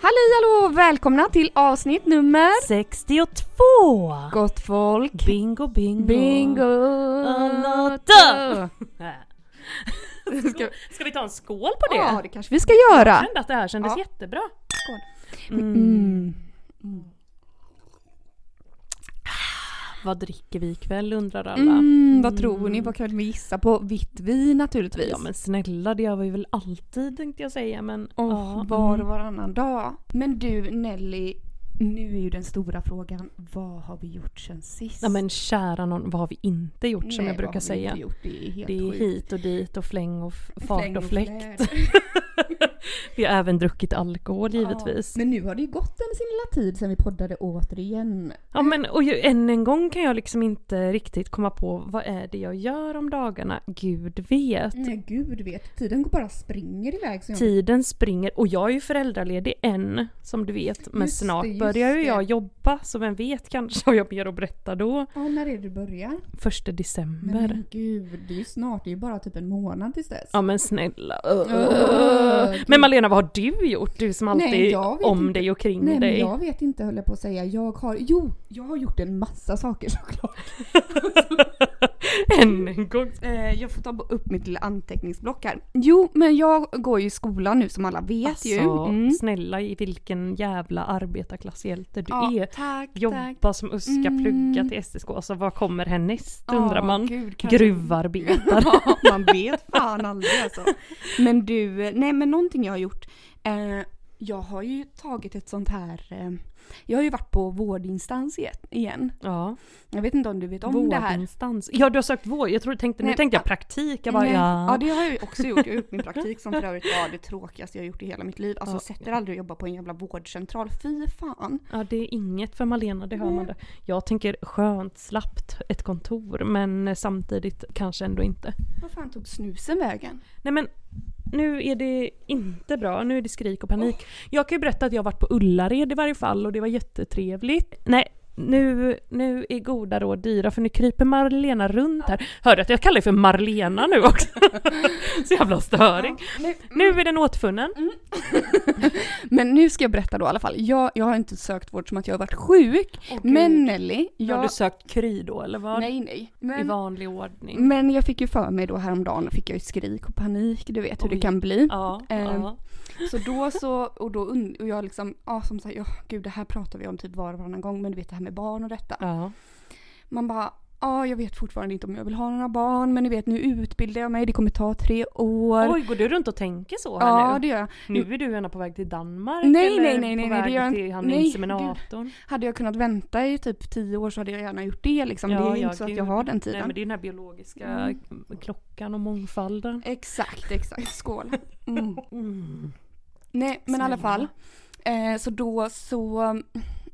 Halli hallå och välkomna till avsnitt nummer 62! Gott folk Bingo bingo! Bingo! Lotta! Ska- Äh. Ska vi ta en skål på det? Ja det kanske vi ska Jag göra! kände att det här kändes Ja. jättebra. Mm. Ah, Vad dricker vi ikväll undrar alla. Mm, vad tror ni? Vad kan vi gissa på? Vitt vin naturligtvis. Ja men snälla det gör vi väl alltid tänkte jag säga men... Och ja, var och mm. varannan dag. Men du Nelly, nu är ju den stora frågan, vad har vi gjort sen sist? Ja men kära någon, vad har vi inte gjort som Nej, vad har jag brukar vi säga? inte Gjort? Det är helt Det är sjukt. hit och dit och fläng och f- fart Fläng och fläkt. fläkt. Vi har även druckit alkohol givetvis. Men nu har det ju gått en sin lilla tid sen vi poddade återigen. Ja men och ju, än en gång kan jag liksom inte riktigt komma på vad är det jag gör om dagarna? Gud vet. Nej gud vet, tiden går bara springer iväg. Så jag Tiden springer och jag är ju föräldraledig än som du vet. Men Just det, snart just börjar ju det. jag jobba så vem vet kanske har jag mer att berätta då. Ja, när är det du börjar? Första Nej, december. men gud, det är ju snart, det är ju bara typ en månad tills dess. Ja men snälla. Öh, du- men Malena vad har du gjort? Du som alltid Nej, jag är vet om inte. dig och kring Nej men dig. jag vet inte höll jag på att säga. Jag har, jo, jag har gjort en massa saker såklart. Än en gång. Eh, jag får ta b- upp mitt lilla anteckningsblock här. Jo, men jag går ju i skolan nu som alla vet Alltså, ju. Mm. snälla i vilken jävla arbetarklasshjälte du Ja, är. tack, tack. Jobba som uska, plugga till SSK. Alltså vad kommer härnäst undrar man. Gud, kanske- Gruvarbetare. Ja, man vet fan aldrig alltså. Men du, eh, nej men någonting jag har gjort. Eh, jag har ju tagit ett sånt här, eh, jag har ju varit på vårdinstans i- igen. Ja. Jag vet inte om du vet om det här. Vårdinstans. Ja du har sökt vård. Jag trodde, tänkte, nu Nej, tänkte jag a- praktik. Jag bara Nej. ja. ja det har jag ju också gjort. Jag har gjort min praktik som för övrigt var det tråkigaste jag har gjort i hela mitt liv. Alltså Ja. sätter aldrig att jobba på en jävla vårdcentral. Fy fan. ja det är inget för Malena, det hör man det. Jag tänker skönt, slappt, ett kontor men samtidigt kanske ändå inte. Vad fan tog snusen vägen? Nej men nu är det inte bra, nu är det skrik och panik. Jag kan ju berätta att jag har varit på Ullared i varje fall och det var jättetrevligt. Nej, nu, nu är goda råd dyra för nu kryper Marlena runt här. Hörde att jag kallar dig för Marlena nu också? Så jävla störing. Mm. Nu är den återfunnen. Men nu ska jag berätta då i alla fall. Jag, jag har inte sökt vård som att jag har varit sjuk. men Nelly, Har jag... du sökt kry då eller vad? nej nej. I Men, vanlig ordning. men jag fick ju för mig då häromdagen, fick jag ju skrik och panik, du vet hur Oj. det kan bli. Ja, Ehm, ja. Så då så, och då und- och jag liksom, ja som sagt, ja gud det här pratar vi om typ var och varannan gång, men du vet det här med barn och detta. ja. Man bara, ja jag vet fortfarande inte om jag vill ha några barn, men ni vet nu utbildar jag mig, det kommer ta tre år. Oj, går du runt och tänker så här ja nu? det gör jag. Nu är du gärna på väg till Danmark Nej, eller nej, nej, nej, på nej, det väg gör jag till inte. han Nej, inseminatorn. Hade jag kunnat vänta i typ tio år så hade jag gärna gjort det liksom. Ja, det är ja, inte så gud. att jag har den mm, tiden. Nej men det är den här biologiska klockan och mångfalden. Exakt, exakt. Skål. Mm. Nej, men i alla fall. Eh, så då så...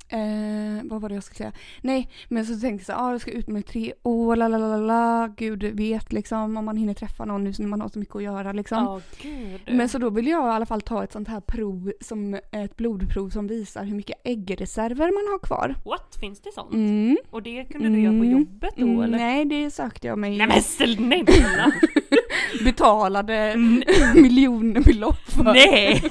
Eh, vad var det jag skulle säga? Nej, men så tänkte jag så här, ah, jag ska ut med tre år, la la la la, la, gud vet liksom om man hinner träffa någon nu så när man har så mycket att göra liksom. Ja gud. Men så då vill jag i alla fall ta ett sånt här prov, som ett blodprov som visar hur mycket äggreserver man har kvar. What, finns det sånt? Mm. Och det kunde du göra på Mm. jobbet då eller? Nej, det sökte jag mig. Nej men snälla! Betalade miljonbelopp för. nej!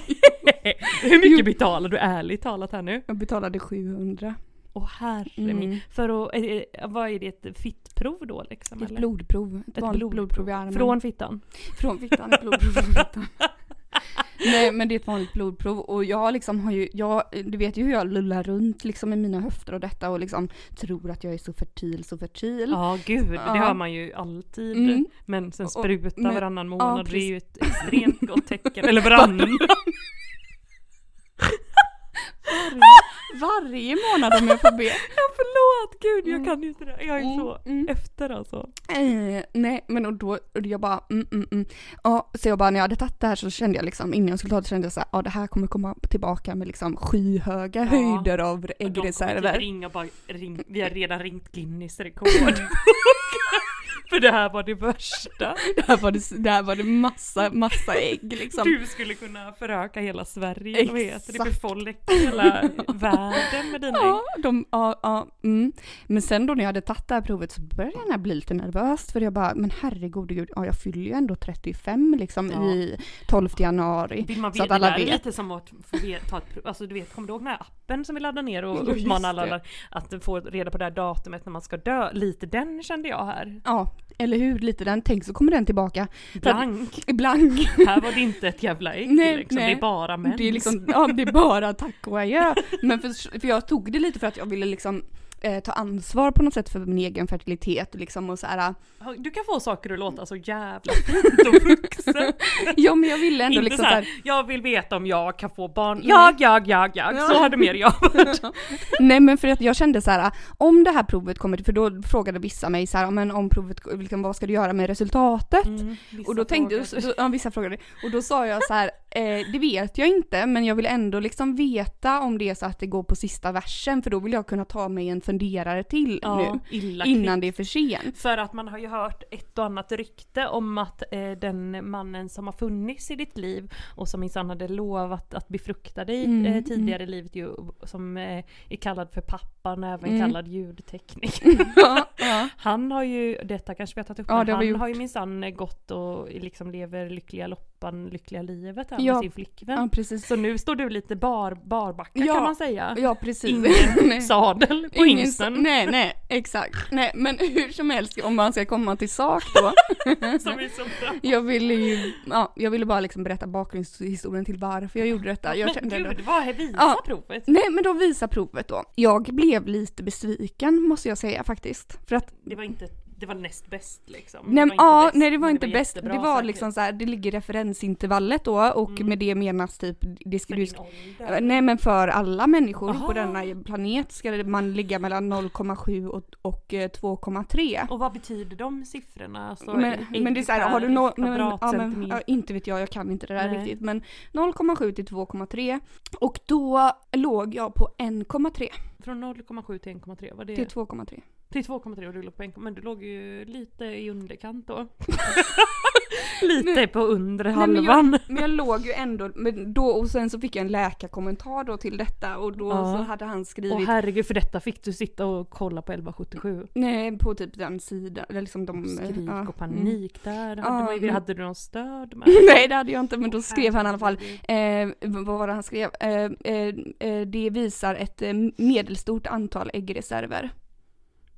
Hur mycket betalar du ärligt talat här nu? Jag betalade 700. Åh herre Mm. min. För att, eh, vad är det, ett fittprov då liksom? Ett eller? blodprov. Ett, vanligt blodprov. i armen. Från fittan? Från fittan, ett blodprov från fittan. Nej men det är ett vanligt blodprov och jag liksom har ju, jag, du vet ju hur jag lullar runt liksom med mina höfter och detta och liksom tror att jag är så fertil, så fertil. Ja gud, Ja. det hör man ju alltid. Mm. Men sen Och- och- spruta men- varannan månad, det är precis. ju ett extremt gott tecken. Eller varannan. Varje månad om jag får be. Ja, förlåt gud jag Mm. kan inte det. Jag är så Mm. efter alltså. Eh, nej men och då, och jag bara mm, mm, mm. Ja, så jag bara när jag hade tagit det här så kände jag liksom innan jag skulle ta det kände jag såhär, ja det här kommer komma tillbaka med liksom skyhöga Ja. höjder av De kommer äggreserver. typ ringa och bara ring, vi har redan ringt Guinness rekord. För det här var det värsta. Det här var det, det, här var det massa, massa ägg liksom. Du skulle kunna föröka hela Sverige, vad heter det? Exakt. Befolka hela världen med dina Ja, de, ja, ja mm. Men sen då när jag hade tagit det här provet så började jag bli lite nervös för jag bara, men herregud, gud, ja, jag fyller ju ändå 35 liksom Ja. i 12 januari. Vill man Så veta, att det alla där är vet. lite som att få ve- ta ett prov. Alltså du vet, kommer du ihåg den här appen som vi laddade ner och Ja, just uppmanade alla det. att få reda på det här datumet när man ska dö? Lite den kände jag här. Ja, eller hur? Lite den, tänk så kommer den tillbaka. Blank. Ibland. Här var det inte ett jävla ägg Nej, liksom. nej. Det är bara mens. Det är liksom, ja det är bara tack och adjö. Men för, för jag tog det lite för att jag ville liksom eh, ta ansvar på något sätt för min egen fertilitet liksom och så här. Du kan få saker att låta så jävla fint och vuxen. Ja men jag ville ändå Inte liksom så här, så jag vill veta om jag kan få barn. Jag, jag, jag, jag. Så hade mer jag varit. Nej men för att jag kände så här, om det här provet kommer, till- för då frågade vissa mig så här, men om provet, liksom, vad ska du göra med resultatet? och då tänkte jag, så- ja, vissa frågade, och då sa jag så här, eh, det vet jag inte men jag vill ändå liksom veta om det är så att det går på sista versen för då vill jag kunna ta mig en funderare till ja, nu. illa Innan det är för sent. För att man har ju hört ett och annat rykte om att eh, den mannen som har funnits i ditt liv och som minsann hade lovat att befrukta dig Mm, eh, tidigare i livet ju, som eh, är kallad för pappan och även Mm. kallad ljudtekniker. ja, ja. Han har ju, detta kanske vi har tagit upp, Ja, men det har han vi gjort. har ju minsann gått och liksom lever lyckliga loppan, lyckliga livet här Ja. med sin flickvän. ja precis. Så nu står du lite bar, barbacka Ja. kan man säga. Ja precis. Ingen Nej. sadel på Ingen- hingsten Nej nej exakt. Nej men hur som helst om man ska komma till sak då. som är så bra. Jag ville ju, ja jag ville bara liksom berätta bakgrundshistorien till varför jag gjorde detta. Jag men kände ändå- gud, vad är visa Ja. provet? Nej men då visar provet då. Jag blev lite besviken måste jag säga faktiskt. För att Det var inte, det var näst bäst liksom. Nej, Det var inte ja, bäst, nej det var men inte bäst. jättebra Det var säkert. liksom så här, det ligger i referensintervallet då och Mm. med det menas typ, det ska För du din ålder. Nej men för alla människor på Aha. denna planet ska man ligga mellan 0,7 och, och eh, 2,3. Och vad betyder de siffrorna? Alltså, Men, ägg men det är såhär, per har du nå- nej, men- ja, men, kvadratcentimeter? ja, inte vet jag, jag kan inte det där Nej. riktigt. Men 0,7 till 2,3 och då låg jag på 1,3 Från 0,7 till 1,3 var det? till 2,3. Till 2,3 och du låg på 1, men du låg ju lite i underkant då. lite på undre Nej, men jag- halvan. Men jag låg ju ändå, men då, och sen så fick jag en läkarkommentar då till detta och då Ja. så hade han Åh skrivit herregud, för detta fick du sitta och kolla på 1177. nej, på typ den sidan, eller liksom de... Skrik ja, och mm. panik där. Hade, Ja, man ju, men- hade du någon stöd med? Nej det hade jag inte men då skrev han i alla fall Herregud. Eh, vad var det han skrev? Eh, eh, eh, det visar ett eh, medelstort antal äggreserver.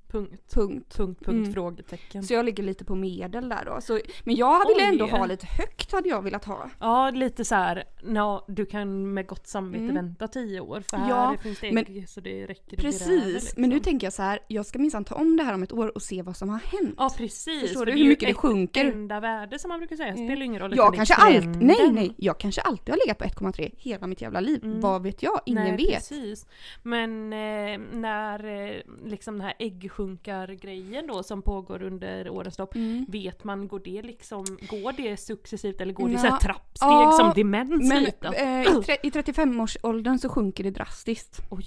Punkt, Punkt. punkt, punkt, Mm. frågetecken. Så jag ligger lite på medel där då. Så, men jag ville Oj. ändå ha lite högt hade jag velat ha. Ja, lite så här. nå, du kan med gott samvete Mm. vänta tio år för här Ja, finns det men- ägg så det räcker och gräver, Precis, liksom. men nu tänker jag så här, jag ska minsann ta om det här om ett år och se vad som har hänt. Ja precis. Förstår för du är hur ju mycket det ett sjunker? enda värde som man brukar säga Mm. spelar ju ingen roll. utan Jag det är kanske, allt, nej, trenden. nej, jag kanske alltid har legat på 1,3 hela mitt jävla liv. Mm. Vad vet jag? Ingen nej, vet. Precis. Men eh, när eh, liksom den här äggsjunkargrejen då som pågår under årens lopp Mm. Vet man, går det liksom, går det successivt eller går det Nja, så här trappsteg ja, som demens? Men lite? Att- eh, i, tre, i 35-årsåldern så sjunker det drastiskt. Åh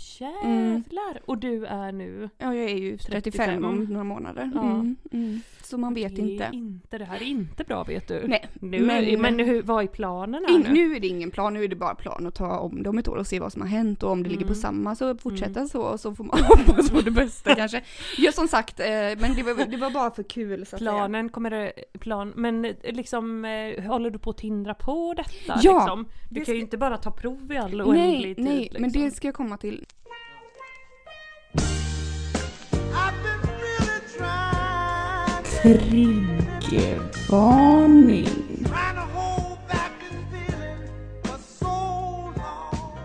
Mm. jävlar! Och du är nu? Ja, jag är ju 35, 35. om några månader. Ja. Mm, mm. Så man vet det är inte. inte. Det här är inte bra vet du. Nej, Nu, men men- hur, vad är planen här In, nu? nu är det ingen plan, nu är det bara plan att ta om det om ett år och se vad som har hänt och om det ligger på Mm. samma så fortsätta så och så får man hoppas på det bästa kanske. Ja som sagt, eh, men det var, det var bara för kul så att säga. Planen kommer det, plan, men eh, liksom eh, håller du på att tindra på detta? Ja, liksom? Du det kan ju ska- inte bara ta prov i all Nej, oändlig tid. nej, liksom. men det ska jag komma till. I've been really trying, trying to hold back this feeling for so long.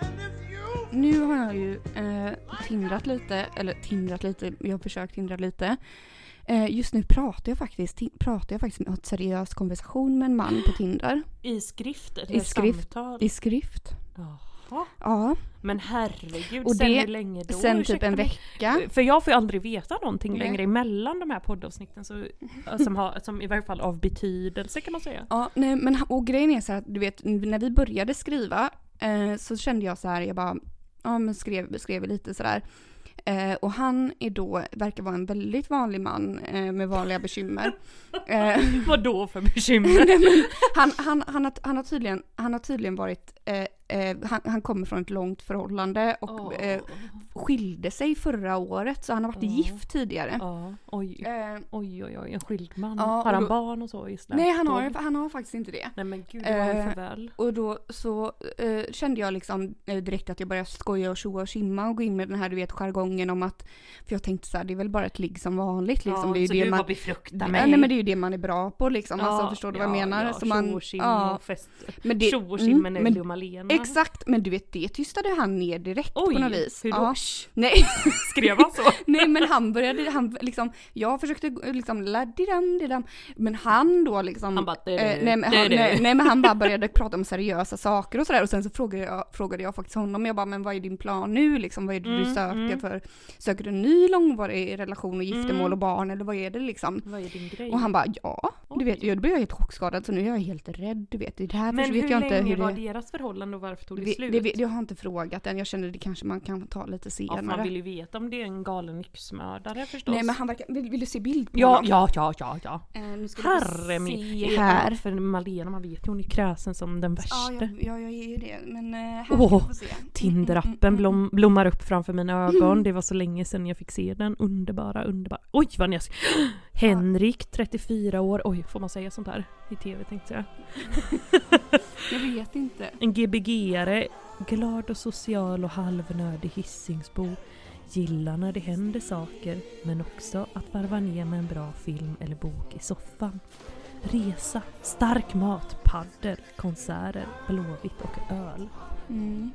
And if you Nu har jag ju eh, tindrat lite, eller tindrat lite, jag har försökt tindra lite. Eh, just nu pratar jag faktiskt, ti- pratar jag faktiskt med, har en seriös konversation med en man på Tinder. I skrift eller I skrift. samtal? I skrift. Ja. Jaha. Ja, Men herregud, Och sen det- hur länge då? sen typ Ursäkta en mig. vecka. För jag får ju aldrig veta någonting Nej. längre emellan de här poddavsnitten så, som, har, som i varje fall av betydelse kan man säga. Ja, nej, men ha- och grejen är så här att du vet, när vi började skriva eh, så kände jag så här, jag bara, ja men skrev, skrev lite sådär. Eh, och han är då, verkar vara en väldigt vanlig man eh, med vanliga bekymmer. eh, Vad då för bekymmer? Nej, men han, han, han, har, han, har tydligen, han har tydligen varit, eh, eh, han, han kommer från ett långt förhållande och Åh. eh, skilde sig förra året så han har varit Åh. gift tidigare. Ja, oj, Eh, oj, oj, oj, en skild man. Ja, har och han då- barn och så? Just där? nej han har, Då- han har faktiskt inte det. Nej men gud, det var Eh, väl för väl. Och då så eh, kände jag liksom eh, direkt att jag började skoja och tjoa och simma och gå in med den här du vet jargongen om att, för jag tänkte så här, det är väl bara ett ligg som vanligt liksom. det är ju så det du man, bara befruktar Ja, mig. nej men det är ju det man är bra på liksom. alltså förstår du vad jag menar? Ja, Så man- tjo och tjim ja. och fest. Men det- Tjo mm, och tjim med men- Nelly och Malena. Exakt, men du vet det tystade han ner direkt på Mm. Oj, något vis. hur då? Ja. Nej, Skrev han så? nej men han började, han liksom, jag försökte gå- liksom ladidam didam, men han då liksom Han bara, "Du, du, eh, nej, men du, han, du." nej, nej men han bara började prata om seriösa saker och sådär och sen så frågade jag, frågade jag faktiskt honom, jag bara men vad är din plan nu liksom, vad är det du Mm, söker mm. för? Söker du en ny långvarig relation och giftermål Mm. och barn eller vad är det liksom? Vad är din grej? Och han bara ja, Oj. du vet, jag då blev jag helt chockskadad så nu är jag helt rädd du vet, det här men vet hur jag inte länge hur var det deras förhållande och varför tog det, det, slut? det, det, jag har inte frågat än, jag känner det kanske man kan ta lite ja, för man senare. vill ju veta om det är en galen yxmördare förstås. Nej men han verkar, vill, vill du se bild på Ja, honom? ja, ja, ja, ja. Eh, nu ska du få Herre min. se Ja, här. För Malena, man vet ju hon är kräsen som den Ja, Mm, värsta. jag, ja, jag är ju det. Men eh, här Åh, ska du få se. Mm, mm, Tinder-appen mm, mm. blom, blommar upp framför mina ögon. Det var så länge sedan jag fick se den. Underbara, underbara. Oj vad jag Henrik, 34 år. Oj, får man säga sånt här i tv tänkte jag. Jag vet inte. En gbg-are. Glad och social och halvnördig hissingsbo. Gillar när det händer saker, men också att varva ner med en bra film eller bok i soffan. Resa, stark mat, paddel, konserter, Blåvitt och öl. Mm.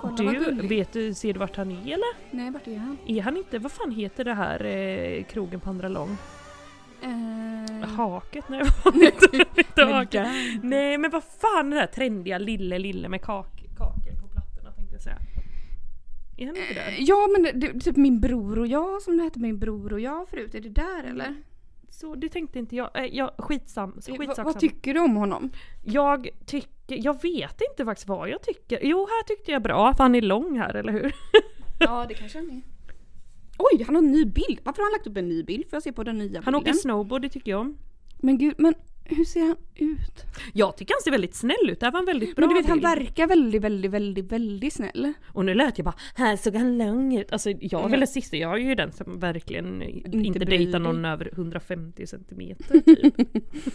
Kolla vad Du, gullig. vet du, ser du vart han är eller? Nej, vart är han? Är han inte, vad fan heter det här eh, krogen på andra lång? Eh, Haket? Nej, vad heter det? Inte men haket. där. Nej men vad fan den där trendiga lille lille med kak, kakor på plattorna tänkte jag säga. Är han inte där? Ja, men det, det, typ min bror och jag som det hette min bror och jag förut. Är det där eller? Så det tänkte inte jag. Äh, jag skitsam, Eh, skitsak vad- vad tycker du om honom? Jag tycker, jag vet inte faktiskt vad jag tycker. Jo här tyckte jag bra för han är lång här eller hur? Ja, det kanske han är. Oj, han har en ny bild. Varför har han lagt upp en ny bild? Får jag se på den nya Han åker bilden? snowboard, det tycker jag om. Men gud, men hur ser han ut? Jag tycker han ser väldigt snäll ut, det här var en väldigt bra men du vet, han bild. verkar väldigt, väldigt, väldigt, väldigt snäll. Och nu lät jag bara “här såg han lång ut”. Alltså jag är väl den sista, jag är ju den som verkligen inte, inte bryr dejtar dig. någon över 150 centimeter. Typ.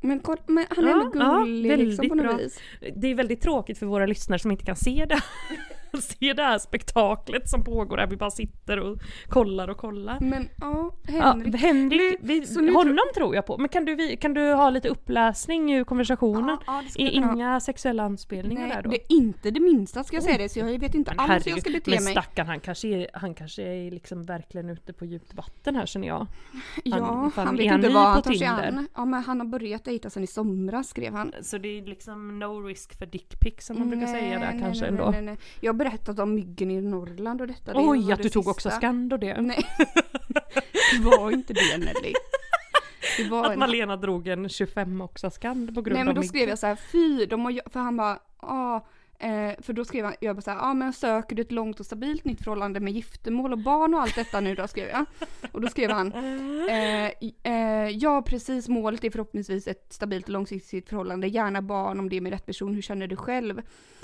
Men, kolla, men han är Ja, ändå ja, gullig liksom väldigt på något bra. vis. det är väldigt tråkigt för våra lyssnare som inte kan se det, se det här spektaklet som pågår här. Vi bara sitter och kollar och kollar. Men ja, Ja, Henrik. Henrik, vi, så nu honom tror jag på. Men kan du, vi- kan du ha lite uppläsning ur konversationen? Ja, ja, det skulle är jag kunna ha. inga sexuella anspelningar Nej, där då? det är inte det minsta ska jag säga det, så jag vet inte Men alls hur jag herregud, ska bete men mig. stackarn han kanske är, han kanske är liksom verkligen ute på djupt vatten här känner jag. Ja, fan, han är vet han inte ny vad på han tar sig Tinder? an. Ja, men han har börjat dejta sedan i somras skrev han. Så det är liksom no risk för dickpics som man brukar säga där kanske nej, ändå. Nej, nej. Jag har berättat om myggen i Norrland och detta. det Oj, var att det du tog sista. också skand och det. Nej, det var inte det Nelly. Det var Att en- Malena drog en 25 också skand på grund Nej men då av skrev jag så här, fy, de har, ju- för han bara, ja, eh, för då skrev han, jag bara så här, ja men söker du ett långt och stabilt nytt förhållande med giftermål och barn och allt detta nu då, skrev jag. Och då skrev han, eh, i- eh, ja precis, målet är förhoppningsvis ett stabilt och långsiktigt förhållande, gärna barn om det är med rätt person, hur känner du själv?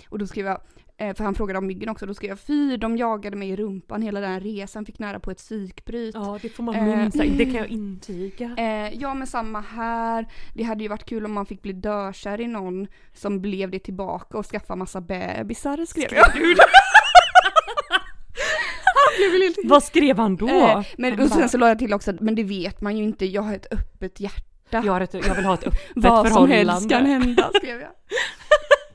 Och då skrev jag, eh, för han frågade om myggen också, då skrev jag, fy, de jagade mig i rumpan hela den här resan, fick nära på ett psykbryt. Ja det får man Eh, minst sagt, det kan jag intyga. Eh, ja men samma här. Det hade ju varit kul om man fick bli dökär i någon som blev det tillbaka och skaffa massa bebisar skrev jag. du det? Vad skrev han då? Eh, men Han och sen bara, så la jag till också, men det vet man ju inte, jag har ett öppet hjärta. jag, har ett, jag vill ha ett öppet Vad som helst kan förhållande. hända skrev jag.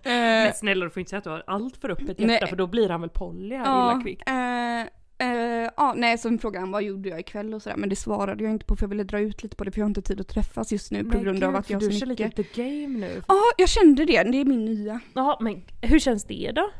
Eh, Men snälla du får inte säga att du har allt för öppet hjärta Nej. för då blir han väl Polly här illa kvickt. eh, Eh, ja, nej, så frågan vad gjorde jag ikväll och sådär, men det svarade jag inte på för jag ville dra ut lite på det för jag har inte tid att träffas just nu på grund av att jag har du så kör lite mycket. the game nu. Ja, jag kände det. Det är min nya. Jaha, men hur känns det då?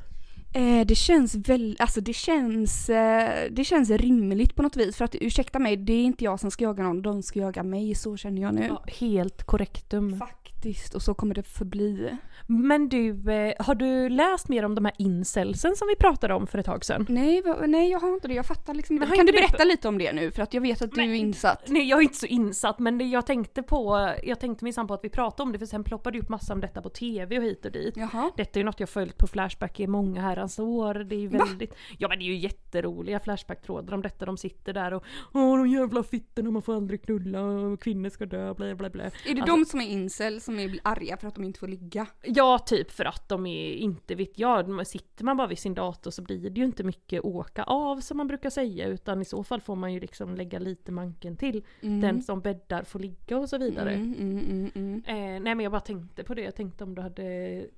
Eh, det känns väl, alltså det känns, eh, det känns rimligt på något vis. För att ursäkta mig, det är inte jag som ska jaga någon, de ska jaga mig. Så känner jag nu. Ja, helt korrektum. Faktiskt, och så kommer det förbli. Men du, eh, har du läst mer om de här incelsen som vi pratade om för ett tag sedan? Nej, va, nej jag har inte det. Jag fattar liksom Men inte. har Kan du inte du- berätta lite om det nu? För att jag vet att du är insatt. Nej jag är inte så insatt men det- jag tänkte på, jag tänkte minsann på att vi pratade om det för sen ploppade det upp massa om detta på TV och hit och dit. Jaha. Detta är ju något jag följt på Flashback i många herrans år. Det är ju väldigt... Ja men det är ju jätteroliga Flashback-trådar om detta. De sitter där och Åh de jävla fittorna, man får aldrig knulla, och kvinnor ska dö, bla bla bla. Är det Alltså- de som är incel som är arga för att de inte får ligga? Ja typ för att de är inte vet jag, de- sitter man bara vid sin dator så blir det ju inte mycket åka av som man brukar säga utan i så fall får man ju liksom lägga lite manken till. Den som bäddar får ligga och så vidare. Mm, mm, mm, mm. Eh, nej men jag bara tänkte på det, jag tänkte om du hade...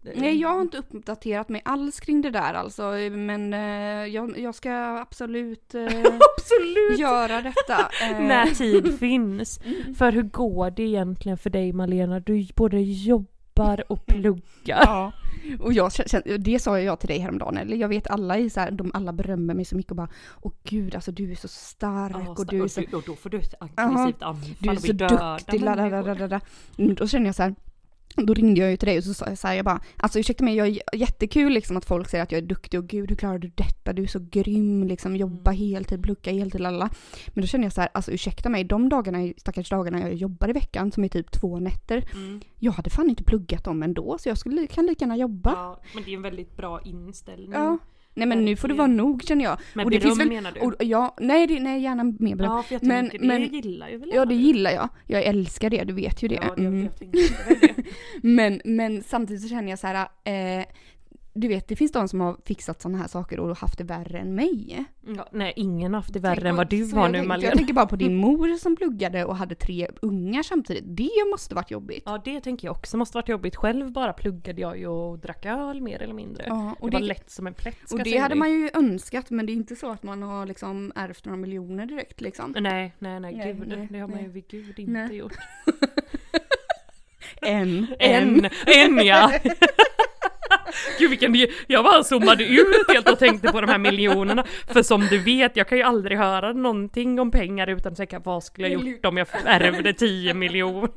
eh, Nej, jag har inte uppdaterat mig alls kring det där alltså, men eh, jag, jag ska absolut eh, Absolut! göra detta. Eh, När tid finns. För hur går det egentligen för dig Malena? Du både jobbar och pluggar. Ja. Och jag, kän- kän- det sa jag till dig häromdagen, eller jag vet alla i så här, de alla berömmer mig så mycket och bara Åh gud alltså du är så stark och du är så, och då får du ett aggressivt anfall du är så duktig, la, la, la, la, la, la. Mm, Då känner jag så här då ringde jag ju till dig och så sa jag så här, jag bara, alltså ursäkta mig, jag är j- jättekul liksom att folk säger att jag är duktig och gud hur klarar du detta, du är så grym liksom, jobba heltid, plugga heltid, lalla. Men då känner jag så här, alltså ursäkta mig, de dagarna, stackars dagarna jag jobbar i veckan som är typ två nätter, Mm. jag hade fan inte pluggat dem ändå så jag skulle, kan lika gärna jobba. Ja, men det är en väldigt bra inställning. Ja. Nej men nu får det vara nog känner jag. Mm. Men och det beröm finns väl- menar du? Och, ja, nej, det, nej gärna mer beröm. ja, för jag men- tänkte men- det gillar ju väl Ja alla det du? gillar jag. Jag älskar det, du vet ju det. Ja, det, Mm. jag tänkte väl det. Men, men samtidigt så känner jag så här, eh, du vet det finns de som har fixat sådana här saker och haft det värre än mig. Ja, nej, ingen har haft det Tänk värre än om- vad du så har jag nu tänkte- Mm. Malena. Jag tänker bara på din mor som pluggade och hade tre ungar samtidigt. Det måste varit jobbigt. Ja, det tänker jag också måste varit jobbigt. Själv bara pluggade jag ju och drack öl mer eller mindre. Ja, och det, det- var lätt som en plätt ska Och jag det säga hade dig. man ju önskat men det är inte så att man har liksom ärvt några miljoner direkt liksom. Nej, nej, nej, Nej, gud. nej, det har man nej. ju vid gud inte Nej. gjort. En. En, en ja! Gud vilken, jag bara zoomade ut helt och tänkte på de här miljonerna. För som du vet, jag kan ju aldrig höra någonting om pengar utan att tänka vad skulle jag gjort om jag ärvde 10 miljoner?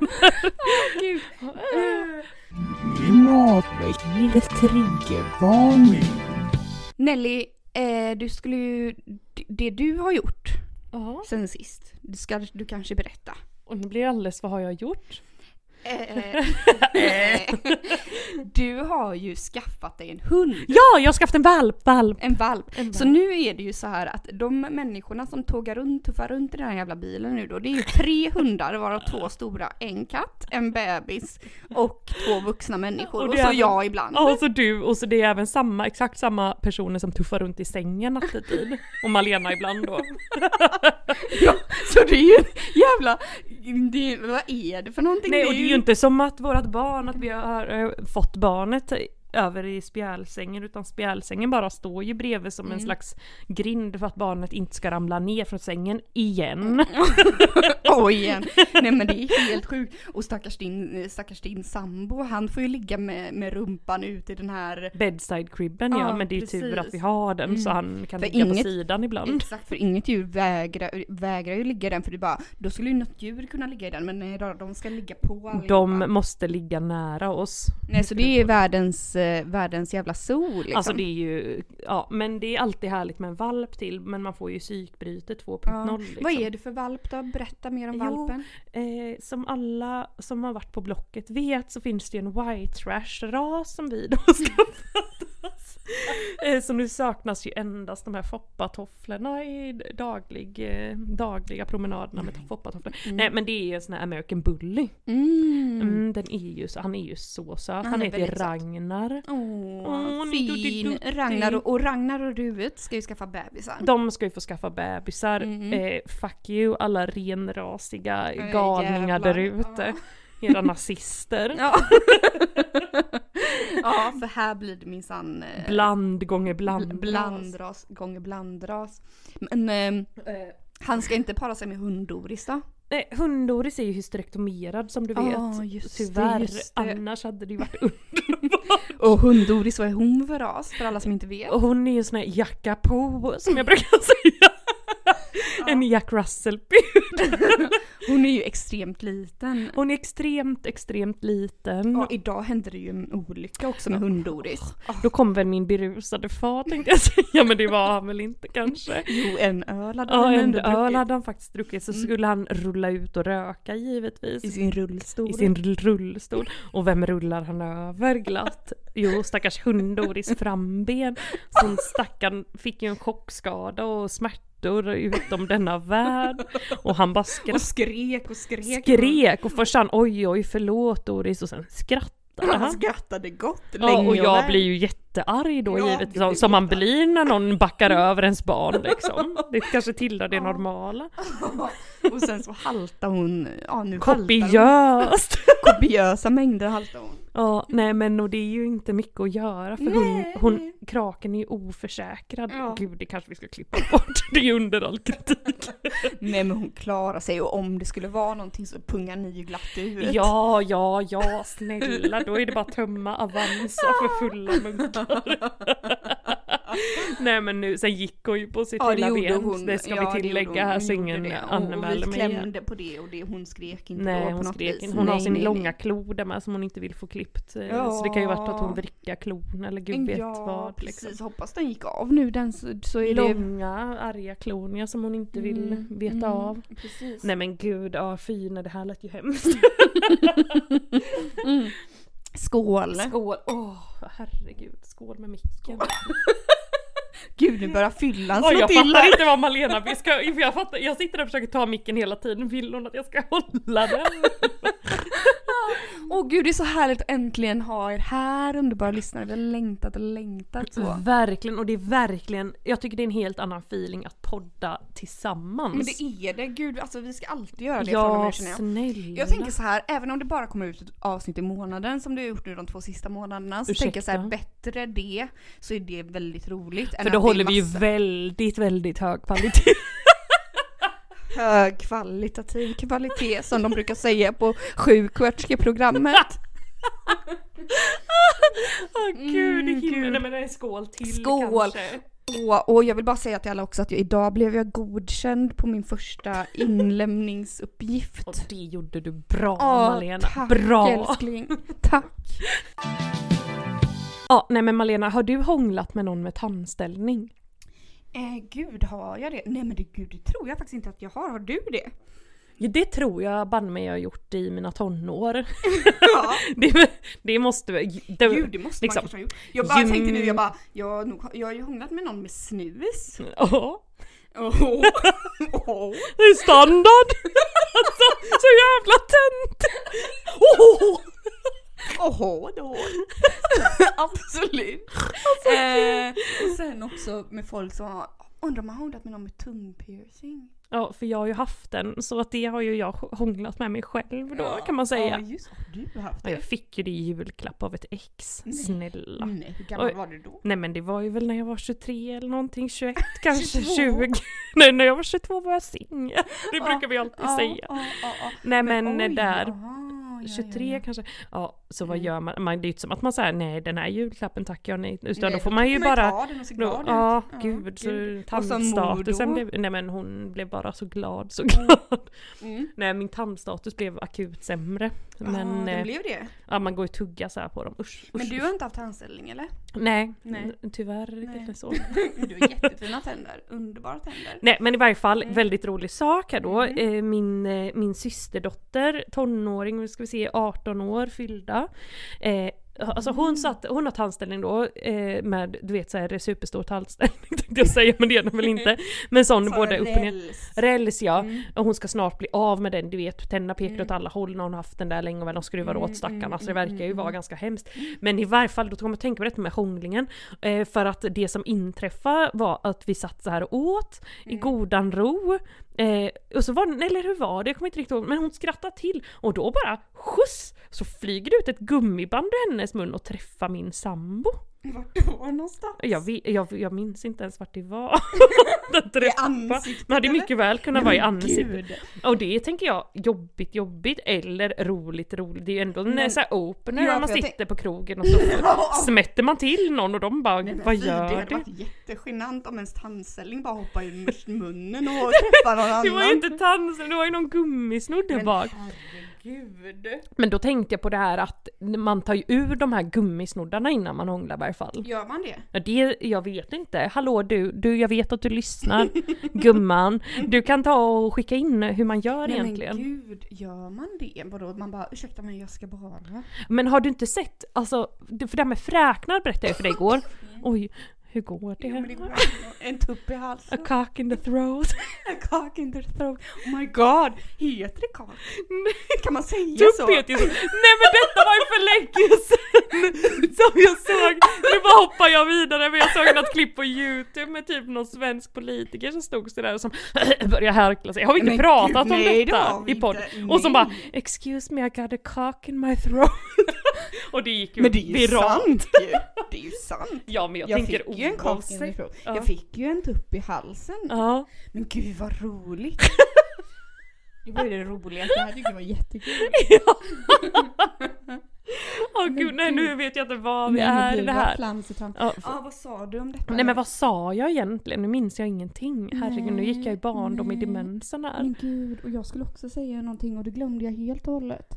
Privatlivets triggervarning. Nelly, eh, du skulle ju, d- det du har gjort sen sist, du, ska, du kanske berätta. Och nu blir det alldeles, vad har jag gjort? Eh. du har ju skaffat dig en hund, Ja, jag har skaffat en valp, valp! en valp. Så nu är det ju så här att de människorna som tågar runt, tuffar runt i den här jävla bilen nu då, det är ju tre hundar varav två stora, en katt, en bebis och två vuxna människor. Och Och, det så är- jag ibland. Ja, och så du och så det är även samma, exakt samma personer som tuffar runt i sängen nattetid. Och Malena ibland då. Ja, så det är ju jävla, det, vad är det för någonting? Nej och det är ju inte som att vårt barn, att vi har eh, fått barnet över i spjälsängen utan spjälsängen bara står ju bredvid som Mm. en slags grind för att barnet inte ska ramla ner från sängen igen. Mm. Oj igen. Nej men det är helt sjukt. Och stackars din, stackars din sambo, han får ju ligga med, med rumpan ut i den här... Bedside cribben ja, Ja, men det är ju tur precis. Mm. att vi har den så han kan För ligga på inget- sidan ibland. Exakt, för inget djur vägrar, vägrar ju ligga i den för det är bara, då skulle ju något djur kunna ligga i den men nej då, de ska ligga på allihopa. De måste ligga nära oss. Nej så det är världens, eh, världens jävla sol liksom. Alltså det är ju, ja men det är alltid härligt med en valp till men man får ju psykbrytet 2.0 ja. liksom. Vad är du för valp då? Berätta mer om Jo, valpen. Eh, som alla som har varit på Blocket vet så finns det ju en white trash-ras som vi då har skaffat oss. Eh, så nu saknas ju endast de här foppatofflorna i daglig, eh, dagliga promenaderna med foppatofflor. Nej men det är ju en sån här American Bully. Mm. Mm. den är ju så, han är ju så söt. Han, är heter väldigt söt. Ragnar. Åh, Åh, ni fin! duttidutti. Ragnar och, och Ragnar och Ruet ska ju skaffa bebisar. De ska ju få skaffa bebisar. Mm-hmm. Eh, fuck you alla renrasiga Eh, galningar jävlar. där ute. Era nazister. Ja. Ja, för här blir det minsann eh, Bland gånger bl- bland. blandras gånger blandras. Men ehm, eh, han ska inte para sig med hund-Doris då? Nej, hund-Doris är ju hysterektomerad som du vet. Ja, Ah, just det, Tyvärr. just det. Annars hade det ju varit under. Och hund-Doris, vad är hon för ras? För alla som inte vet. Och hon är ju en sån här jacka på som jag brukar säga. En Jack russell Hon är ju extremt liten. Hon är extremt, extremt liten. Ja, idag hände det ju en olycka också med hund-Doris. Då kom väl min berusade far tänkte jag säga, men det var han väl inte kanske. Jo, en öl hade Ja, den en ändå öl druckit. Mm. hade han faktiskt druckit så skulle han rulla ut och röka givetvis. I sin rullstol. I sin rullstol. Och vem rullar han över glatt? Jo, stackars hund-Doris framben. Som stackaren fick ju en chockskada och smärtor utom denna värld. Och han bara skrattade. skrek och skrek. Skrek och först han oj oj förlåt Doris och sen skrattade han. Alltså, skrattade gott Ja, och jag väl. blir ju jättearg då Ja, givetvis, det blir Mm. som- som man blir när någon backar över ens barn liksom. Det kanske tillhör det normala. Och sen så haltar hon, ja nu haltar Kopiöst! hon. Kopiösa mängder haltar hon. Ja, nej men och det är ju inte mycket att göra för hon, Nej. hon, kraken är ju oförsäkrad. Ja. Gud, det kanske vi ska klippa bort. Det är under all kritik. Nej men hon klarar sig och om det skulle vara någonting så pungar ni ju glatt ut. Ja, ja, ja, snälla, då är det bara att tömma Avanza för fulla munkar. Nej men nu, sen gick hon ju på sitt Ja, lilla ben, det ska vi tillägga här så ingen anmäler mig. Vi mig. igen. klämde på det och det, hon skrek inte då Nej på hon något skrek vis. inte. Hon har Nej, sin nej, långa nej. klo där med som hon inte vill få klippt. eh, Så det kan ju varit att hon vrickar klon eller gud vet Mm, ja, vad. precis. Liksom. Hoppas den gick av nu den så, så är det... Långa arga klon ja, som hon inte vill Mm, veta mm, av. Precis. Nej men gud, ja, fy nej det här lät ju hemskt. Skål! Skål! Åh herregud, skål med micken. Gud nu börjar fyllan Oj, slå jag till fattar här. inte vad Malena vi ska, för jag, fattar, jag sitter där och försöker ta micken hela tiden, vill hon att jag ska hålla den? Åh gud det är så härligt att äntligen ha er här underbara lyssnare. Vi har längtat och längtat Mm. så. Verkligen, och det är verkligen, jag tycker det är en helt annan feeling att podda tillsammans. Men det är det, gud alltså vi ska alltid göra det från och ja, med känner jag. snälla. Jag tänker så här, även om det bara kommer ut ett avsnitt i månaden som det har gjort nu de två sista månaderna så Ursäkta. tänker jag så här, bättre det så är det väldigt roligt. än För att då det är håller vi ju massa väldigt, väldigt hög kvalitet. högkvalitativ kvalitet som de brukar säga på sjuksköterskeprogrammet. Åh gud i Mm, himlen. gud. Nej men en skål till Skål. kanske. Och, och jag vill bara säga till alla också att jag, idag blev jag godkänd på min första inlämningsuppgift. Och det gjorde du bra Ja, Malena. tack, bra! älskling. Tack. Ja, nej men Malena, har du hånglat med någon med tandställning? Eh, gud har jag det? Nej men det, gud, det tror jag faktiskt inte att jag har. Har du det? Ja, det tror jag banne mig jag har gjort i mina tonår. Ja. det, det måste väl... det- Gud det måste liksom. man kanske ha gjort. Jag bara Gym- tänkte nu, jag bara, jag, har nog, jag har ju hånglat med någon med snus. Ja. Mm. Oh. Oh. Det är standard! alltså, så jävla tönt! Åh! Oho, då. Absolut. Alltså, Eh, och sen också med folk som har, undrar om man har hånglat med någon med tungpiercing? Ja, för jag har ju haft den, så att det har ju jag hånglat med mig själv då kan man Ja säga. just har du haft Ja, det? jag fick ju det i julklapp av ett ex, Nej. Mm. snälla. Nej, hur gammal Oj. var du då? Nej men det var ju väl när jag var 23 eller någonting, 21 kanske, 22. 20. Nej när jag var 22 var jag singel. Det Ja, brukar vi alltid Ja, säga. ja, ja, ja. Nej men, eh, oj, där, aha, ja, 23 ja, kanske. Ja, så vad Mm. gör man? man? Det är ju inte som att man säger nej den här julklappen tackar jag nej. Utan Nej, då får man ju bara ta den och se då, glad ut. ja, gud, så Och som mor tandstatusen då? blev, nej men hon blev bara så glad, så glad. Mm. Nej min tandstatus blev akut sämre. ja, Men det eh, blev det. ja, man går ju tugga så här på dem, usch, usch. Men du har inte haft anställning eller? Nej, Nej. n- tyvärr Nej. inte så. Du har jättefina tänder, underbara tänder. Nej men i varje fall, Mm. väldigt rolig sak här då. Mm. Eh, Min, eh, min systerdotter, tonåring, nu ska vi se, 18 år fyllda. Eh, Alltså Mm. hon, satt, hon har tandställning då eh, med, du vet såhär superstor tandställning tänkte jag säga, men det är den väl inte. Men sån både upp och ner. räls. Räls ja, Mm. och hon ska snart bli av med den, du vet tänderna pekar Mm. åt alla håll när hon har haft den där länge och väl de skruvar Mm, åt stackarna mm, så det mm, verkar ju mm, vara mm. ganska hemskt. Men i varje fall, då kommer jag tänka på detta med hånglingen. Eh, för att det som inträffade var att vi satt så här och åt i Mm. godan ro. Eh, och så var eller hur var det? Jag kommer inte riktigt ihåg, men hon skrattade till och då bara skjuts! Så flyger det ut ett gummiband ur hennes hennes mun och träffa min sambo. Vart då någonstans? Jag, vet- jag, jag minns inte ens vart det var. Den I träffa. ansiktet Man hade ju eller? mycket väl kunnat vara i Men ansiktet. gud. Och det tänker jag, jobbigt jobbigt eller roligt roligt. Det är ju ändå en Men- sån här opener Ja, om man för jag sitter på krogen och så smätter man till någon och de bara Men vad fy, Det gör hade du? varit jättegenant om ens tandställning bara hoppar ur munnen och träffar någon annan. Det var ju inte tandställning, det var ju någon gummisnodd Men bak. herregud. Men då tänkte jag på det här att man tar ju ur de här gummisnoddarna innan man hånglar i varje fall. Gör man det? Ja, det, jag vet inte. Hallå du, du, jag vet att du lyssnar. Gumman, du kan ta och skicka in hur man gör Nej, egentligen. Men gud, gör man det? Vadå? Man bara ursäkta mig jag ska bara. Men har du inte sett, alltså, det- för det här med fräknar berättade jag för dig igår. Oj, hur går Jo, men det det? går en tupp i A halsen. cock in the throat. A cock in the throat. Oh my god, heter det cock? Kan man säga så? Tupp heter ju så. Nej men detta var ju för länge sedan som jag såg. Nu bara hoppar jag vidare men jag såg något klipp på youtube med typ någon svensk politiker som stod sådär och som började härkla sig. Har vi inte Men pratat gud, om nej, det detta har vi i podden? inte. Och som Nej. bara “excuse me I got a cock in my throat” och det gick ju Men det är ju viralt. sant ju. Det är ju sant. Ja men jag, Jag, tänker fick ju en cock in the oavsett. throat. Ja. Jag fick ju en tupp i halsen. Ja. Men gud vad roligt. Det var ju det roligaste, jag tyckte det var jättekul. Ja. Åh gud, nej nu vet jag inte vad vi är i det här. Ja, Ja ah, vad sa du om detta? Nej men vad sa jag egentligen? Nu minns jag ingenting. Herregud, nu gick jag i barndom i nej. demensen här. Men gud, och jag skulle också säga någonting och det glömde jag helt och hållet.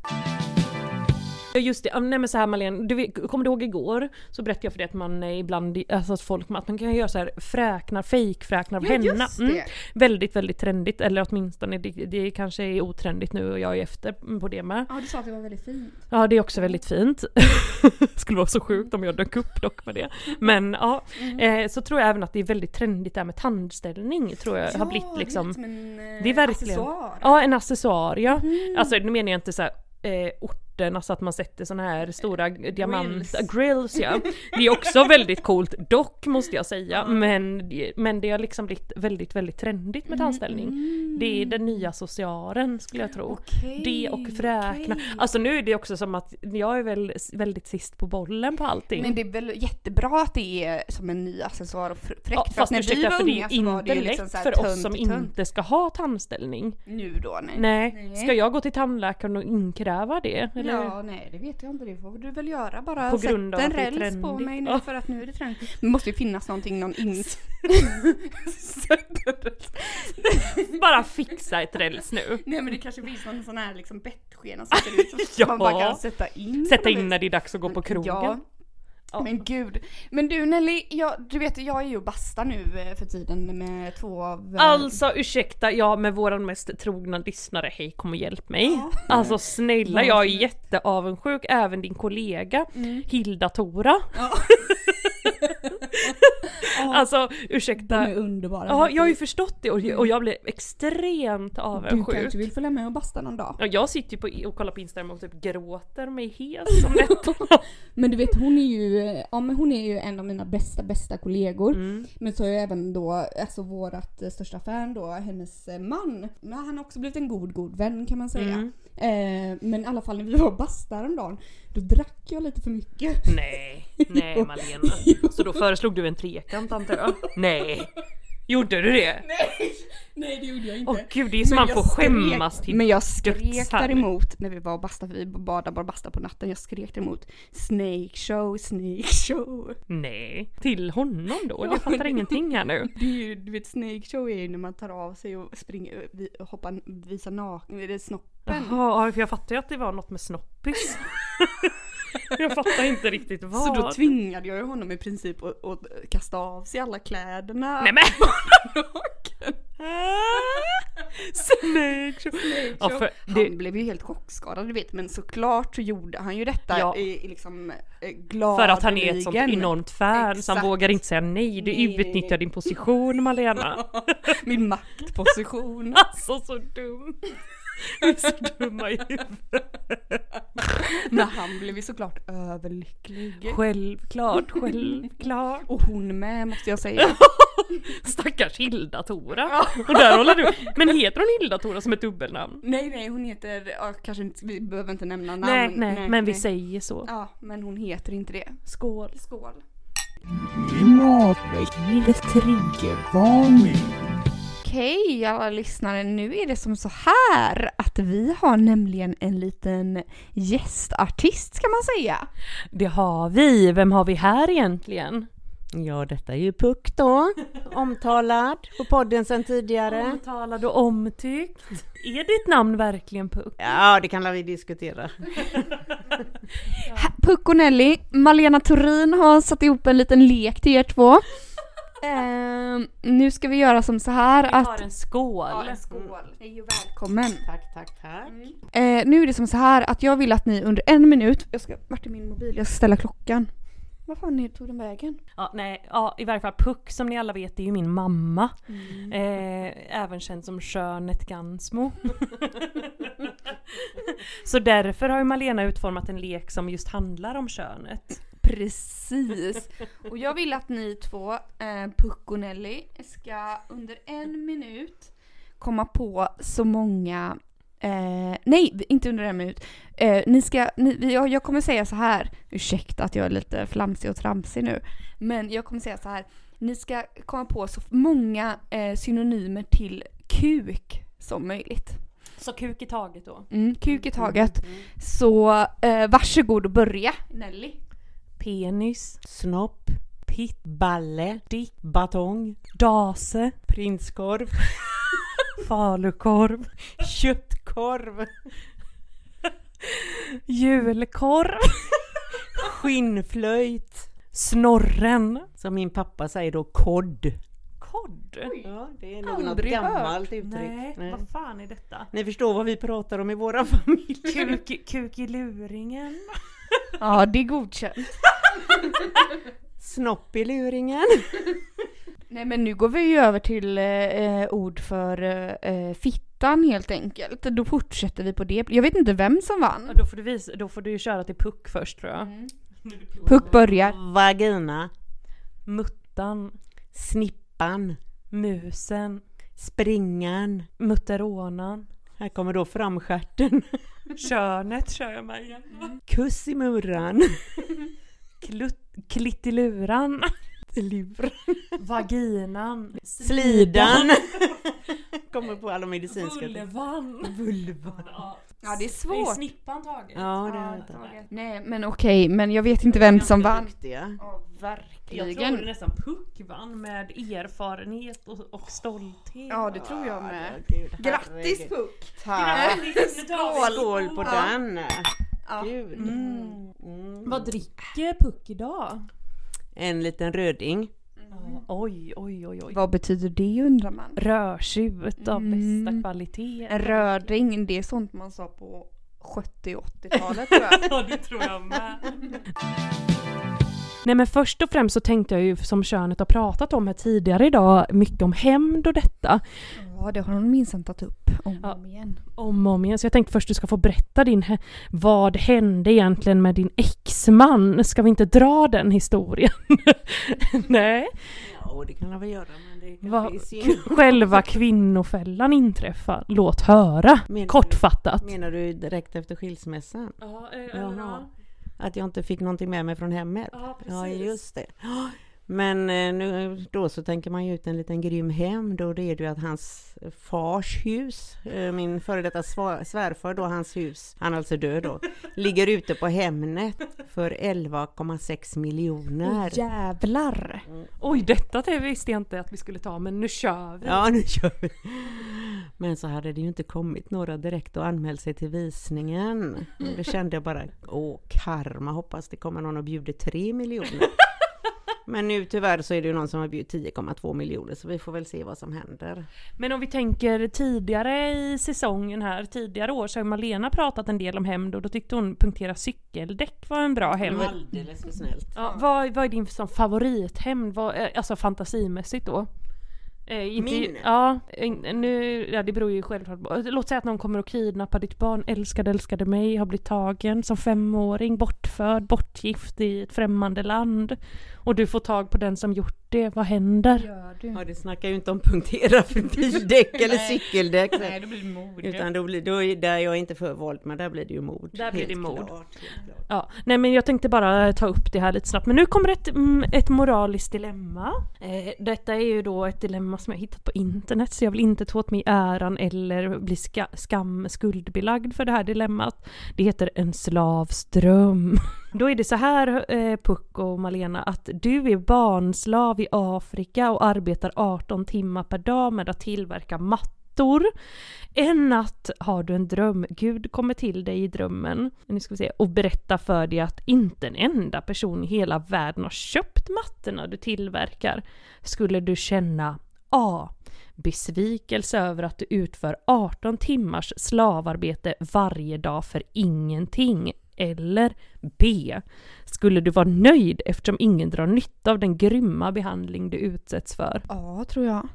Ja, Just det, ja, nej men så här Malin, du vet, kommer du ihåg igår? Så berättade jag för dig att man eh, ibland, alltså att folk, att man kan göra så här fräknar, fejkfräknar av henna. Mm. Väldigt, väldigt trendigt. Eller åtminstone det, det kanske är otrendigt nu och jag är efter på det med. Ja du sa att det var väldigt fint. Ja det är också väldigt fint. Skulle vara så sjukt om jag dök upp dock med det. Men ja, Mm. eh, så tror jag även att det är väldigt trendigt det här med tandställning tror jag har blivit liksom. det är, som en, eh, Det är verkligen- accessoar. Ja en accessoar ja. Mm. Alltså nu menar jag inte så här, eh, orten, alltså att man sätter såna här stora diamanter, grills ja. Det är också väldigt coolt dock måste jag säga. Men, det- men det har liksom blivit väldigt väldigt trendigt Mm, med tandställning. Det är den nya accessoaren skulle jag tro. Okej, Det och fräknar. okej. Alltså nu är det också som att jag är väl s- väldigt sist på bollen på allting. Men det är väl jättebra att det är som en ny accessoar och fr- fräckt. ja, fast när vi ursäkta, var för det unga är så var inte det ju lätt liksom såhär för oss som tönt. inte ska ha tandställning. Nu då nej. Nej. Nej. ska jag gå till tandläkaren och inkräva det? Eller? Ja, nej det vet jag inte. Det får du väl göra bara. På grund av Sätt att det är en räls på trendigt. mig nu Ja. för att nu är det trendigt. Det måste ju finnas någonting, någon ins... Sätt en räls. Bara fixa ett räls nu. Nej men det kanske finns någon sån här liksom bettskena som ser ut som Ja. man bara kan sätta in. Sätta på något in vis. när det är dags att gå på krogen. Ja. Ja. Men gud. Men du Nelly, jag, du vet jag är ju och bastar nu eh, för tiden med två av... eh, Alltså ursäkta, ja men våran mest trogna lyssnare, hej kom och hjälp mig. Alltså snälla, jag är jätteavundsjuk, även din kollega Mm. Hilda Tora. alltså ursäkta. De är underbara. Ja, jag har ju förstått det och och jag blev extremt Du kanske avundsjuk. vill följa med och basta någon dag. Ja, jag sitter ju på, och kollar på Instagram och typ gråter mig hes om detta. Men du vet hon är ju, eh, ja, men hon är ju en av mina bästa bästa kollegor. Mm. Men så är ju även då alltså vårat eh, största fan då, hennes eh, man. Men han har också blivit en god god vän kan man säga. Mm. Eh, men i alla fall när vi var och bastade häromdagen då drack jag lite för mycket. Nej, nej Malena. Så då föreslog du en trekant antar jag? Nej. Gjorde du det? Nej! Nej det gjorde jag inte. Åh gud, det är som Men man jag får skämmas till Men jag döds skrek här. däremot när vi var och bastade, för vi badade bara basta på natten. Jag skrek däremot Snake show, Snake show. Nej. Till honom då? Jag fattar ingenting här nu. Det är ju, du vet Snake show är ju när man tar av sig och springer, vi- hoppar, visar naken, det är snoppen. Jaha, ja, för jag fattar ju att det var något med snoppis. jag fattar inte riktigt vad. Så då tvingade jag ju honom i princip att, att kasta av sig alla kläderna. Nej men! Snake show. Ja, för det, Han blev ju helt chockskadad du vet men såklart så gjorde han ju detta Ja. i, i liksom eh, glad för att han är ett sånt ligen. enormt fan så han Exakt. vågar inte säga nej. Du Nej, nej, nej. utnyttjar din position Malena. Min maktposition. Alltså så dum. Vi är så dumma i huvudet. När han blev ju såklart överlycklig. Självklart, självklart. Och hon med måste jag säga. Stackars Hilda-Tora. Och där håller du. Men heter hon Hilda-Tora som ett dubbelnamn? nej nej hon heter, ja, kanske inte, vi behöver inte nämna namn. Nej, nej, men vi nej. säger så. Ja men hon heter inte det. Skål. Skål. Klimatväckande triggervarning. Okej alla lyssnare, nu är det som så här att vi har nämligen en liten gästartist kan man säga. Det har vi. Vem har vi här egentligen? Ja, detta är ju Puck då. Omtalad på podden sedan tidigare. Omtalad och omtyckt. Är ditt namn verkligen Puck? Ja, det kan vi diskutera. Ha- Puck och Nelly, Malena Turin har satt ihop en liten lek till er två. Ehm, nu ska vi göra som så här Vi att... har en skål. skål. Hej och välkommen. Tack, tack, tack. Eh, nu är det som så här att jag vill att ni under en minut... Jag ska... Vart är min mobil? Jag ska ställa klockan. Vad fan är det, tog den vägen? Ja, nej, ja, i varje fall Puck som ni alla vet är ju min mamma. Eh, även känd som Skönet Gansmo. Så därför har ju Malena utformat en lek som just handlar om könet. Precis. Och jag vill att ni två, eh, Puck och Nelly, ska under en minut komma på så många... Eh, nej, inte under en minut. Eh, ni ska, ni, vi- jag, jag kommer säga så här. Ursäkta att jag är lite flamsig och tramsig nu. Men jag kommer säga så här. Ni ska komma på så många eh, synonymer till kuk som möjligt. Så kuk i taget då. Mm, kuk i taget. Så eh, varsågod och börja. Nelly. Penis, Snopp, pitt, balle, dick, batong, dase, prinskorv, falukorv, köttkorv, julkorv, skinnflöjt. snorren, Som min pappa säger då, kodd. kod. Ja, det är nog något Aldrig gammalt uttryck. Nej, Nej. vad fan är detta? Ni förstår vad vi pratar om i våra familj. Kuk, i- kuk i luringen. Ja, det är godkänt. Snopp i luringen. Nej men nu går vi ju över till eh, eh, ord för eh, eh, fittan helt enkelt. Då fortsätter vi på det. Jag vet inte vem som vann. Ja, Då får, du visa, då får du ju köra till puck först tror jag. Mm. Puck börjar. Vagina. Muttan, Snippan. musen, Springan. mutterånan. Här kommer då framstjärten. Könet kör jag med igen. Kuss i murran. Klut, klittiluran. Lur. Vaginan. Slidan. Kommer på alla medicinska. Vulvan. Vulva. Ja det är Är svårt. snippan taget? Ja, det har jag tagit. Nej men okej, men jag vet inte vem som vann. Duktiga. Jag tror Verkligen. nästan Puck vann med erfarenhet och, och stolthet. Ja det tror jag med. Gud, Grattis herregud. Puck! Tack! Skål! Skål på den! Ja. Gud. Mm. Vad dricker Puck idag? En liten röding. Mm. Oj, oj, oj, oj. Vad betyder det undrar man? Rödtjut av Mm. bästa kvalitet. En röding, det är sånt man sa på 70 och 80-talet tror jag. Ja, det tror jag med. Nej men först och främst så tänkte jag ju som könet har pratat om här tidigare idag mycket om hämnd och detta. Ja det har hon minsann tagit upp om och Ja. om igen. Om och om igen. Så jag tänkte först du ska få berätta din, hä- vad hände egentligen med din exman? Ska vi inte dra den historien? Nej. Ja, det kan jag väl göra men det kan Vad- bli synd. Själva kvinnofällan inträffar. Låt höra. Menar du- Kortfattat. Menar du direkt efter skilsmässan? Ja, Jaha. Att jag inte fick någonting med mig från hemmet? eh, Ja, just det. Ja, Men eh, nu, då så tänker man ju ut en liten grym hem. Då det är det ju att hans fars hus, eh, min före detta sva- svärfar då, hans hus, han är alltså död då, ligger ute på Hemnet för 11,6 miljoner. Jävlar! Oj, detta det visste jag inte att vi skulle ta men nu kör vi. Ja, nu kör vi! Men så hade det ju inte kommit några direkt och anmält sig till visningen. Och då kände jag bara, åh karma, hoppas det kommer någon och bjuder 3 miljoner. Men nu tyvärr så är det ju någon som har bjudit 10,2 miljoner så vi får väl se vad som händer. Men om vi tänker tidigare i säsongen här, tidigare år så har Malena pratat en del om hämnd och då tyckte hon punktera cykeldäck var en bra hämnd. Mm. Alldeles för snällt. Ja, vad, vad är din som favorithämnd? Vad, eh, alltså fantasimässigt då? Eh, inte, Min? Ja, in- nu, ja, det beror ju självklart på. Låt säga att någon kommer och kidnappar ditt barn, älskade älskade mig, har blivit tagen som femåring, bortförd, bortgift i ett främmande land. Och du får tag på den som gjort det, vad händer? Gör du? Ja, det snackar ju inte om punktera för bildäck eller cykeldäck. Nej, då blir det mod. Utan då blir, då är, där jag är inte för våld, men där blir det ju mord. Där blir Helt det mord. klart, helt klart. Ja, nej men jag tänkte bara ta upp det här lite snabbt. Men nu kommer ett, mm, ett moraliskt dilemma. Eh, detta är ju då ett dilemma som jag hittat på internet så jag vill inte ta åt mig äran eller bli ska, skam skuldbelagd för det här dilemmat. Det heter en slavs dröm. Då är det så här eh, Puck och Malena att du är barnslav i Afrika och arbetar 18 timmar per dag med att tillverka mattor. En natt har du en dröm. Gud kommer till dig i drömmen nu ska vi se, och berättar för dig att inte en enda person i hela världen har köpt mattorna du tillverkar. Skulle du känna A. Besvikelse över att du utför 18 timmars slavarbete varje dag för ingenting. Eller B. Skulle du vara nöjd eftersom ingen drar nytta av den grymma behandling du utsätts för? Ja, tror jag.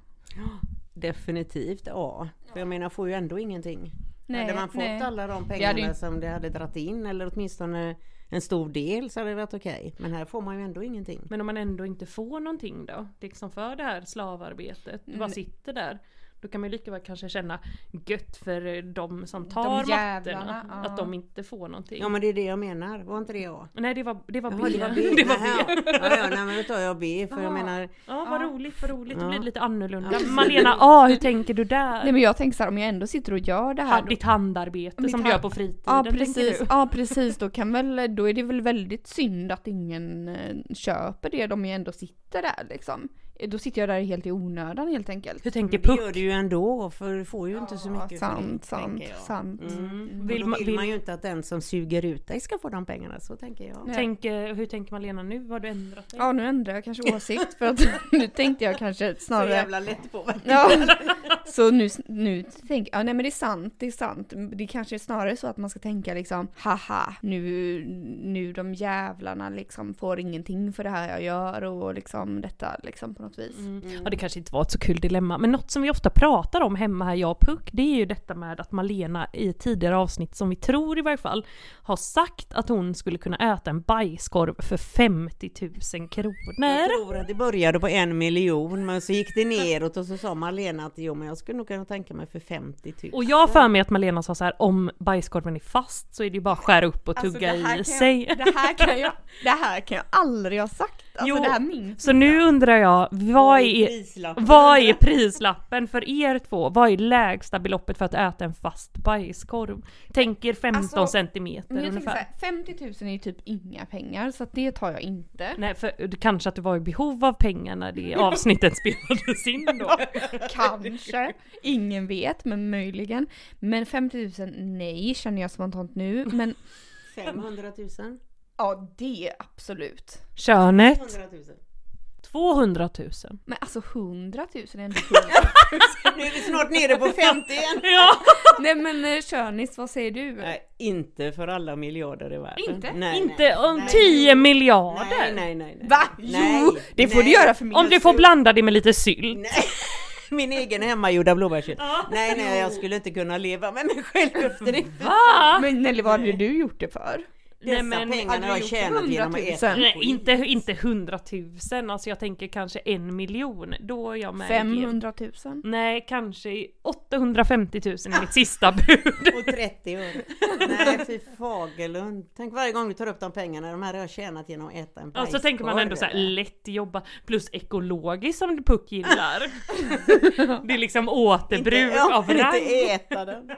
Definitivt ja. För jag menar, får ju ändå ingenting. hade man fått nej. alla de Det hade pengarna ju inte- som det hade dratt in, eller åtminstone en stor del, så hade det varit okej. Men här får man ju ändå ingenting. Men om man ändå inte får någonting då? Liksom för det här slavarbetet, du Mm. bara sitter där. Då kan man ju lika väl kanske känna gött för eh, de som tar jävlarna, mattorna. ja. Att de inte får någonting. Ja men det är det jag menar, var inte det A? Nej det var, det var B. Jaha, det var B. Det var Jaha. B. Ja, ja, nej men då tar jag B för jag menar, Ja vad roligt, vad roligt. Det Ja. blir lite annorlunda. Ja. Malena A, hur tänker du där? Nej men jag tänker så här, om jag ändå sitter och gör det här Ha- då, Ditt handarbete Mitt som du gör hand- på fritiden. Ja tänker precis, du? ja precis, då kan väl, då är det väl väldigt synd att ingen eh, köper det, de ju ändå sitter där liksom. Eh, Då sitter jag där helt i onödan helt enkelt. Hur tänker men det gör Puck? du ju ändå för du får ju inte så mycket för sant, det, sant, tänker jag. sant. Mm. Vill Vill, då ma- vill, vill, man ju inte att den som suger ut dig ska få de pengarna, så tänker jag. Nej. tänker, hur tänker Malena nu? Har du ändrat dig? Ja nu ändrar jag kanske åsikt för att nu tänkte jag kanske snarare lätt på mig. Ja, så nu, nu tänker jag, ja, nej men det är sant, det är sant. Det kanske är snarare så att man ska tänka liksom, haha, nu, nu de jävlarna liksom får ingenting för det här jag gör och liksom detta liksom på något vis. Mm. Ja det kanske inte var ett så kul dilemma, men något som vi ofta pratar om hemma här jag och Puck, det är ju detta med att Malena i ett tidigare avsnitt, som vi tror i varje fall, har sagt att hon skulle kunna äta en bajskorv för 50 000 Jag kronor. tror att det började på en miljon men så gick det neråt och så sa Malena att jo men jag skulle nog kunna tänka mig för 50 000. Och jag har för mig att Malena sa så här om bajskorven är fast så är det ju bara att skära upp och tugga i sig. Alltså, Det här kan jag, det här kan jag aldrig ha sagt. Alltså Jo. det här minns Så nu undrar jag, vad är, prislappen? vad är prislappen för er två? Vad är lägsta beloppet för att äta en fast bajskorv? Tänk er 15 Alltså, centimeter men jag tänker ungefär. så här, 50 000 är ju typ inga pengar så att det tar jag inte. Nej, för du- kanske att du var i behov av pengar när det avsnittet spelades in då. Kanske. Ingen vet, men möjligen. Men 50 000, nej känner jag spontant nu. Men 500 000? ja, det absolut. Könet, 100 000. 200 000. Men alltså 100 000 är ändå kul. Nu är vi snart nere på 50 igen! Ja, Nej men eh, Körnis, vad säger du? Nej, inte för alla miljarder i världen. Inte? Nej, inte om Nej. 10 Nej, miljarder! nej, nej. nej. Va? Nej, jo! Det får nej. du göra för min Om du får blanda det med lite sylt. Nej. Min egen hemmagjorda blåbärssylt. Nej, nej, jag skulle inte kunna leva med mig själv efter det. Va? Men Nelly, vad hade du gjort det för? Nej, Dessa men- alltså, pengarna har jag tjänat genom att 100 000? äta Nej, skit. inte, inte 100 000, alltså jag tänker kanske en miljon. Då är jag med. i det. 500 000? Nej, kanske 850 000 i mitt sista bud. Och 30 öre. Nej fy Fagerlund. Tänk varje gång du tar upp de pengarna, de här har jag tjänat genom att äta en Och så tänker man ändå så här bajskorv. lätt jobba plus ekologiskt som Puck gillar. det är liksom återbruk Inte- ja, av men rang. Inte äta den.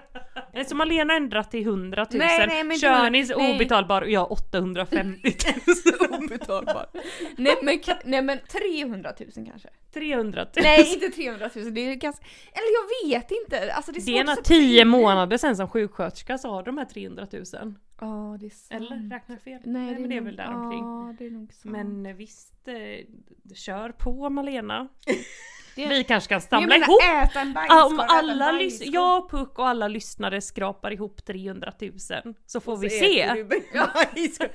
Nej, Så Malena ändrat till 100 000, Nej, nej, men Körnis inte- nej. obetalbar och jag 850 000. Obetalbar. nej, men, ka- nej men 300 000 kanske? 300 000. Nej inte 300 000, det är ganska... Eller jag vet inte. Alltså, det är, Det är svårt några att- 10 månader sen som sjuksköterska så har de här 300 000. Ja, det är sant. Eller räknar jag fel? Nej, men det är nog- väl däromkring. Ja, det är nog sant. Men visst, eh, kör på Malena. Det- Vi kanske kan jag samla menar, ihop äta en bajskorv, om äta en alla lys- bajskorv. jag och Puck och alla lyssnare skrapar ihop 300 000 så får vi Så se. äter du bajskorv.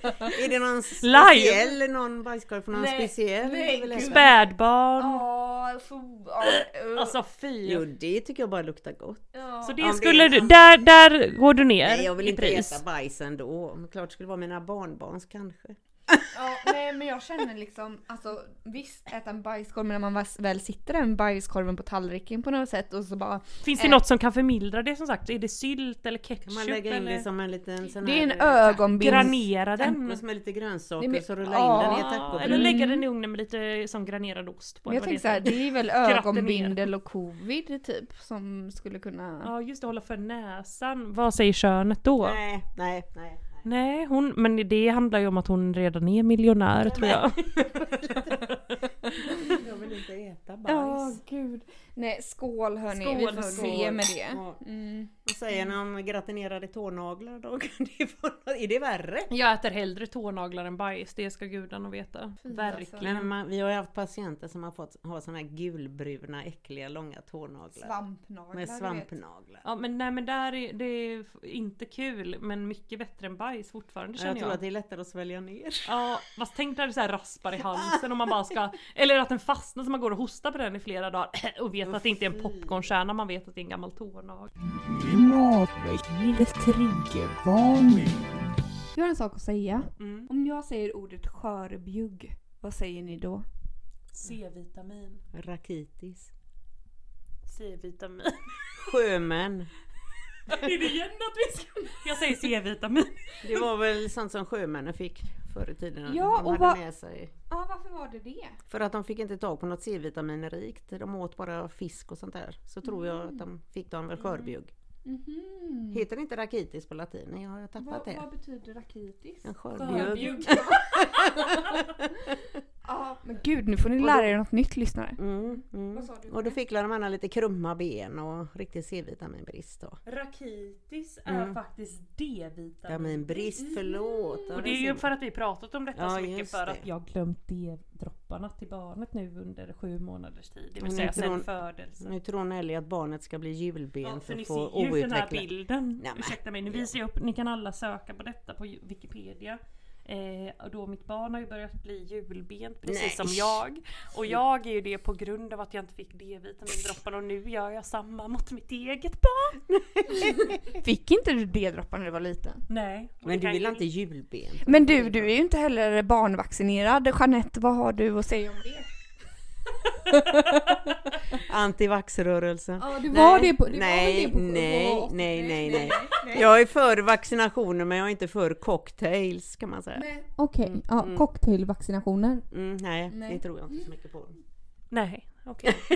Är det någon speciell, någon bajskorv för någon Nej, speciell? nej, Eller- gud. Spädbarn. Ja, så, ja, uh, Alltså fy. Jo det tycker jag bara luktar gott. ja. Så Om det det skulle är du, en- där, där går du ner Nej jag vill i inte pris. äta bajs ändå. Men klart det skulle vara mina barnbarns kanske. Ja, nej men jag känner liksom, alltså visst äta en bajskorv men när man väl- väl sitter där med bajskorven på tallriken på något sätt och så bara Finns det Eh. något som kan förmildra det som sagt? Är det sylt eller Kan man ketchup lägga in det eller som en liten sån Det är en här, eh, ögonbinds... granera den? Tacos med lite grönsaker Nej, men- så rulla in den i ett Ja, eller tacobröd. lägga den i ugnen med lite som granerad ost på. Men eller jag vad tänker det såhär, heter. det är väl ner. ögonbindel och covid typ som skulle kunna... Ja just det, hålla för näsan. Vad säger könet då? Nej, Nej, nej, nej. hon, men det handlar ju om att hon redan är miljonär tror jag. Jag vill inte äta bajs. Ja, gud. Nej, skål hörni, vi Skål, får hörni. se med det. Ja. Mm. Vad säger ni om gratinerade tånaglar då? Kan det vara- är det värre? Mm. Jag äter hellre tånaglar än bajs, det ska gudarna veta. alltså. Verkligen. Men man, vi har ju haft patienter som har fått ha såna här gulbruna äckliga långa tånaglar. Svampnaglar med du vet. svampnaglar. Ja men nej men där är det är f- inte kul men mycket bättre än bajs fortfarande Jag känner tror jag. att det är lättare att svälja ner. Ja fast tänk när det så här raspar i halsen och man bara ska Eller att den fastnar så man går och hostar på den i flera dagar och vet att det inte är en popcornkärna man vet att det är en gammal tånagel. Matveckans triggervarning. Jag har en sak att säga. Mm. Om jag säger ordet skörbjugg, vad säger ni då? C-vitamin. Rakitis. C-vitamin. Sjömän. är det igen att vi ska... Jag säger C-vitamin. Det var väl sånt som sjömännen fick förr i tiden. Ja, de och hade vad- med sig. Ja, varför var det det? För att de fick inte tag på något C-vitamin rikt. De åt bara fisk och sånt där. Så tror Mm. jag att de fick dem väl skörbjugg. Mhm. Heter det inte rakitis på latin? Jag har tappat Vad, det. vad betyder rakitis? En skörbjugg. Ja, men gud nu får ni lära er något nytt lyssnare. Mm, mm. sa du? Och då fick de lite krumma ben och riktig C-vitaminbrist då. Rakitis är Mm. faktiskt D-vitamin. Vitaminbrist, förlåt. Ja, Och det det är ju synd. för att vi pratat om detta Ja, så mycket just för det. att jag glömt D-dropparna till barnet nu under sju månaders tid. Det vill Men säga inte sen någon- födelsen. Nu tror Nelly att barnet ska bli julben Ja, för för ni att få ser ju den här outvecklat. bilden. men. Ursäkta mig, nu visar jag upp. Ni kan alla söka på detta på Wikipedia. Eh, och då mitt barn har ju börjat bli julbent precis Nej. Mm. som jag. Och jag är ju det på grund av att jag inte fick D-vitamindropparna och nu gör jag samma mot mitt eget barn. Fick inte du D-droppar när du var liten? Nej. och Men det du kan vill ju- inte julben? Men du, du är ju inte heller barnvaccinerad. Jeanette, vad har du att säga om det? Antivaxrörelsen. Ja, du nej, nej, nej, nej, nej. Jag är för vaccinationer men jag är inte för cocktails kan man säga. Okej, ja, cocktailvaccinationer. Mm, nej, Nej. det tror jag inte så mycket på. Nej, okej.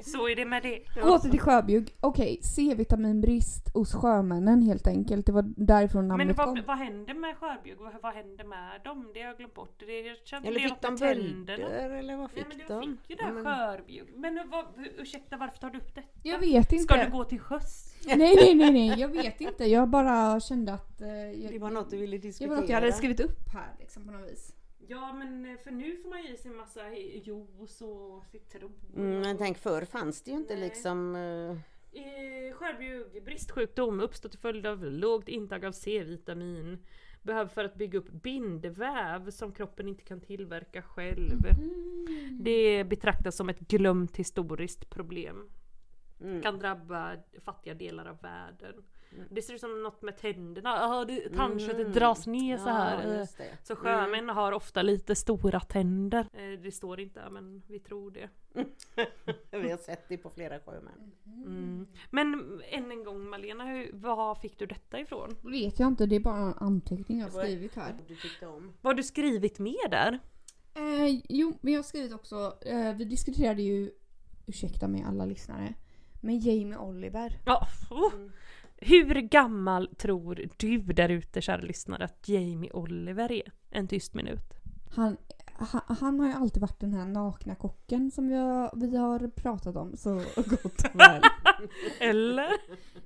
Så är det med det. Åter till skörbjugg. Okej, C-vitaminbrist hos sjömännen helt enkelt. Det var därifrån Men namnet kom. vad, vad händer med skörbjugg? Vad, vad händer med dem? Det har jag glömt bort. Det, jag känner Eller det är fick något de med tänderna. bölder eller vad Nej fick men du de? fick ju det här Ja, men- skörbjugg. Men vad, ursäkta varför tar du upp detta? Jag vet inte. Ska du gå till sjöss? Nej, nej, nej, nej, jag vet inte. Jag bara kände att... Eh, Det jag, var något du ville det diskutera. var något jag hade skrivit upp här liksom på något vis. Ja men eh, för nu får man ju i sig massa juice och citron. Mm, men tänk förr fanns det ju inte Nej. liksom... eh, Eh, skörbjugg, bristsjukdom uppstår till följd av lågt intag av C-vitamin. Behöver för att bygga upp bindväv som kroppen inte kan tillverka själv. Mhm. Det betraktas som ett glömt historiskt problem. Mm. Kan drabba fattiga delar av världen. Det ser ut som något med tänderna, ah, det, tandköttet dras ner så här. Mm. Ja, Eh, just Mm. det. Så sjömän har ofta lite stora tänder. Eh, Det står inte där, men vi tror det. Vi har sett det på flera sjömän. Mm. Men än en gång Malena, hur, var fick du detta ifrån? Vet jag inte, det är bara en anteckning jag har skrivit här. Mm. Du tyckte om. Vad har du skrivit med där? Eh, jo, men jag har skrivit också, eh, vi diskuterade ju, ursäkta mig alla lyssnare, men Jamie Oliver. Ja, oh. Mm. Hur gammal tror du där ute kära lyssnare att Jamie Oliver är? En tyst minut. Han, ha, han har ju alltid varit den här nakna kocken som vi har, vi har pratat om så gott och väl. Eller?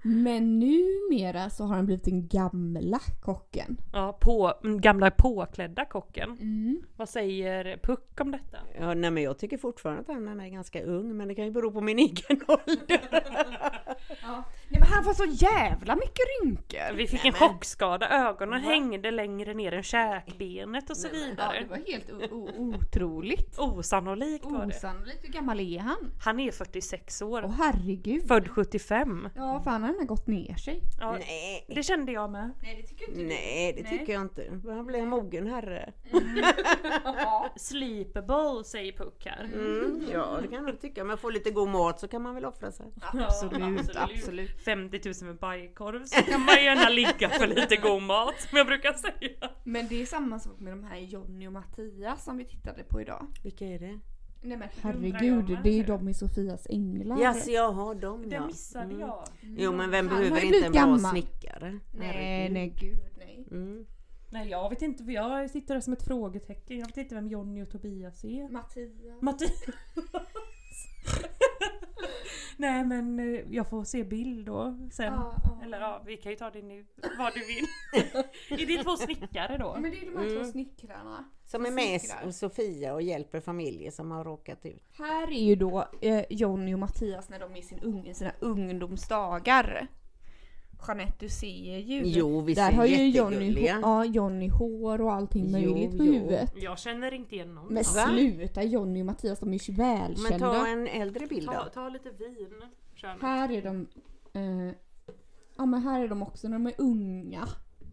Men numera så har han blivit den gamla kocken. Ja, på, mm, gamla påklädda kocken. Mm. Vad säger Puck om detta? Ja, nej, men jag tycker fortfarande att han är ganska ung, men det kan ju bero på min egen ålder. Nej men han får så jävla mycket rynkor. Vi fick en chockskada, ögonen hängde längre ner än käkbenet och så vidare. var helt otroligt. Osannolikt var det. Osannolikt. Hur gammal är han? Han är 46 år. Åh herregud. Född 75. Ja, fan han har gått ner sig. Ja, Nej, det kände jag med. nej, det tycker jag inte. Han blev en mogen herre. Sleepable säger Puck här. Mm, ja, det kan jag nog tycka. Om jag får lite god mat så kan man väl offra sig. Absolut, absolut. 50 000 för bajkorv så kan man gärna ligga för lite god mat som jag brukar säga. Men det är samma sak med de här Jonny och Mattias som vi tittade på idag. Vilka är det? Nej men Herregud, det är ju de i Sofias änglar. Ja, så jag har dem Det ja. missade Mm. jag. Jo, men vem Han har ju behöver blivit inte en bra gammal. snickare? Nej, Herregud. nej gud nej. Mm. Nej jag vet inte, jag sitter där som ett frågetecken. Jag vet inte vem Jonny och Tobias är. Mattias. Mattias! Nej men eh, jag får se bild då sen. Ja, ja. Eller ja, vi kan ju ta det nu. Vad du vill. är det två snickare då? Ja, Men det är ju de här Mm. två snickrarna. Som är med Snickrar. Sofia och hjälper familjer som har råkat ut. Här är ju då eh, Jonny och Mattias när de är i, sin ung, i sina ungdomsdagar. Jeanette, du ser ju. Jo, visst Där är har ju Johnny, jättegulliga. ja, Johnny hår och allting Jo, möjligt på jo. huvudet. Jag känner inte igen någon. Men Va? sluta Johnny och Mattias, de är ju Men ta välkända. en äldre bild Ta, då. ta lite vin. Kör nu. Här är de... Eh, ja men här är de också när de är unga.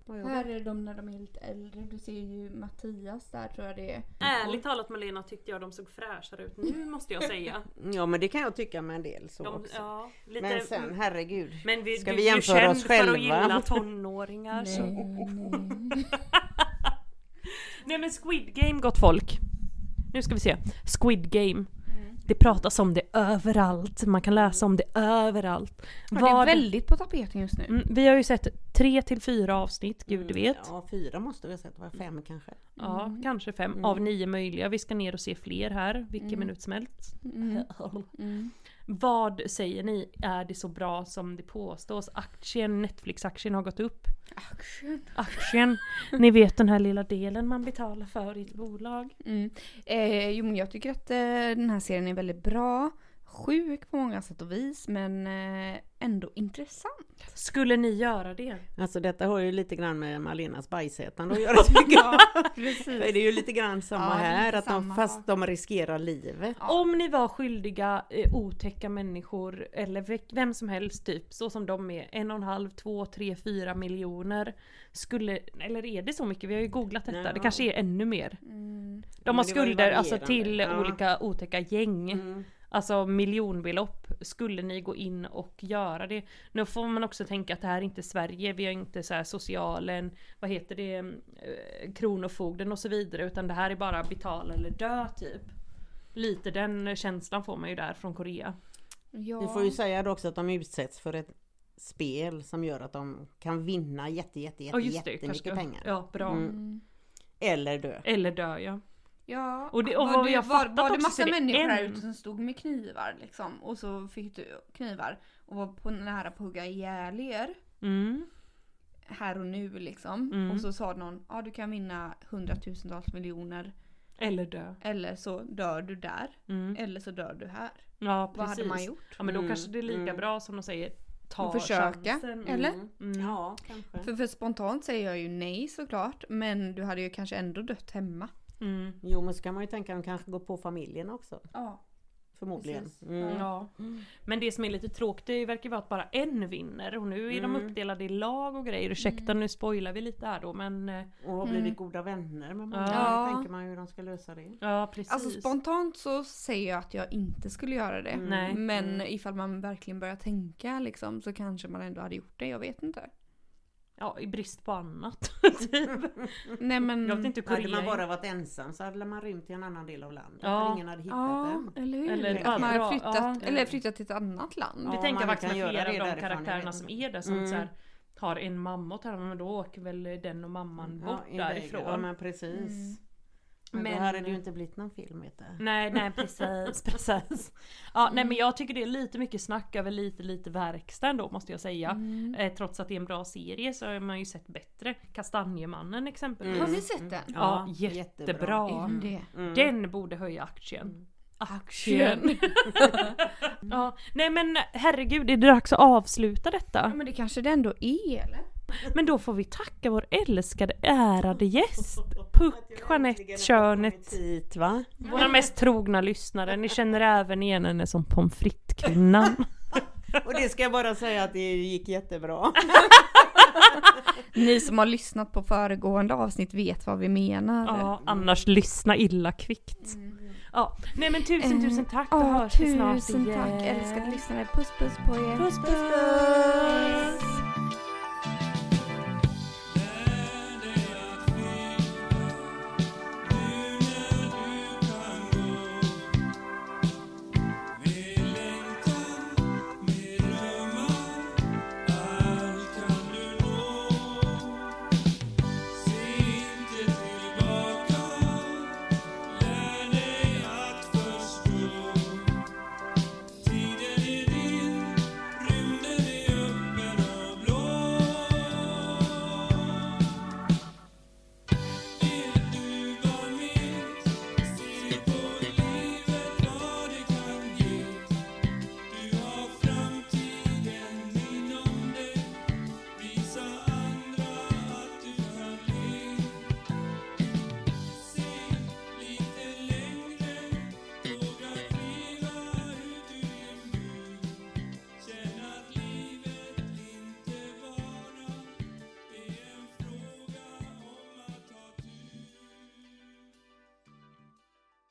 Här är de när de är lite äldre. Du ser ju Mattias där tror jag det är. Ärligt talat Malena tyckte jag de såg fräschare ut nu måste jag säga. Ja, men det kan jag tycka med en del så De, också. ja, lite, Men sen, herregud. men vi, ska du, vi du är jämföra känd oss för själva? att gilla tonåringar. Alltså, så- Nej, nej. Nej men Squid Game gott folk. Nu ska vi se. Squid Game. Mm. Det pratas om det överallt. Man kan läsa om det överallt. Ja, Det är Vad- väldigt på tapeten just nu. Mm, vi har ju sett tre till fyra avsnitt, gud vet. Mm, Ja, fyra måste vi ha sett, det var fem kanske. Ja, kanske fem Mm. av nio möjliga. Vi ska ner och se fler här, vilken minut som helst. Mm, Mm. Vad säger ni, är det så bra som det påstås? Aktien, Netflix-aktien har gått upp. Action. Aktien, ni vet den här lilla delen man betalar för i ett bolag. Mm. Eh, jo men jag tycker att eh, den här serien är väldigt bra. Sjuk på många sätt och vis men eh, ändå intressant. Skulle ni göra det? Alltså detta har ju lite grann med Malenas bajsätande att göra tycker jag. För det är ju lite grann samma Ja, det är här, lite att de, samma fast sak. de riskerar livet. Ja. Om ni var skyldiga eh, otäcka människor eller ve- vem som helst typ så som de är en och en halv, två, tre, fyra miljoner skulle, eller är det så mycket? Vi har ju googlat detta, Ja. det kanske är ännu mer. Men Mm, De har det var ju skulder alltså till varierande. Ja. olika otäcka gäng. Mm. Alltså miljonbelopp. Skulle ni gå in och göra det? Nu får man också tänka att det här är inte Sverige. Vi har inte så här socialen, vad heter det, eh, Kronofogden och så vidare. Utan det här är bara betala eller dö typ. Lite den känslan får man ju där från Korea. Ja. Vi får ju säga då också att de utsätts för ett spel som gör att de kan vinna jätte, jätte, jätte, Ja just det, kanske jättemycket ska- pengar. Ja, bra. Mm. Eller dö. Eller dö ja. Ja, Och det- och vad jag var, fattat var det också så massa är det människor en- här ute som stod med knivar liksom och så fick du knivar och var på nära på att hugga ihjäl er Mm. här och nu liksom. Mm. Och så sa någon ja du kan vinna hundratusentals miljoner Eller dö. eller så dör du där Mm. eller så dör du här. Ja precis. Vad hade man gjort? Ja men då Mm, kanske det är lika mm. bra som de säger ta Försöka, chansen. eller? Mm. Ja, kanske. För, för spontant säger jag ju nej såklart men du hade ju kanske ändå dött hemma. Mm. Jo men så kan man ju tänka att de kanske går på familjen också. Ja. Förmodligen. Precis. Mm. Ja. Men det som är lite tråkigt det verkar vara att bara en vinner och nu är Mm. de uppdelade i lag och grejer. Ursäkta nu spoilar vi lite här då men eh, Och har blivit goda vänner med många. Ja. Då tänker man ju hur de ska lösa det. ja precis. Alltså spontant så säger jag att jag inte skulle göra det. Nej. Men ifall man verkligen börjar tänka liksom så kanske man ändå hade gjort det, jag vet inte. Ja i brist på annat. typ. Nej men... Jag vet inte hur Hade Korea man är. bara varit ensam så hade man rymt till en annan del av landet. Ja. För ingen hade hittat Ja, den. eller hur? Eller att man bara- har flyttat, ja. eller flyttat till ett annat land. Det Ja, tänker jag man faktiskt kan med göra flera det av de därifrån, jag karaktärerna vet som inte. är där som Mm. så här, har en mamma och tar men då åker väl den och mamman bort i vägen. därifrån. Ja men precis. Men, Mm. Men- Mm. då hade det ju inte blivit någon film vet du. Nej, nej precis, precis. Ja, nej Mm. men jag tycker det är lite mycket snack över lite, lite verkstad ändå måste jag säga. Mm. Eh, trots att det är en bra serie så har man ju sett bättre. Kastanjemannen exempelvis. Har ni sett den? Mm. Ja, jättebra. Är Mm. det? Mm. Den borde höja aktien. Aktien! ja, nej men herregud, är det dags att avsluta detta? Ja men det kanske det ändå är eller? Men då får vi tacka vår älskade ärade gäst Puck, Jeanette, Körnet, Hit, va? våra mest trogna lyssnare. Ni känner även igen henne som pommes frites-kvinnan. Och det ska jag bara säga att det gick jättebra. Ni som har lyssnat på föregående avsnitt vet vad vi menar. Ja, annars lyssna illa kvickt. Ja, nej men tusen tusen tack, då Eh, Ja, hörs vi snart tusen tack igen. älskade lyssnare. Puss puss på er. Puss puss!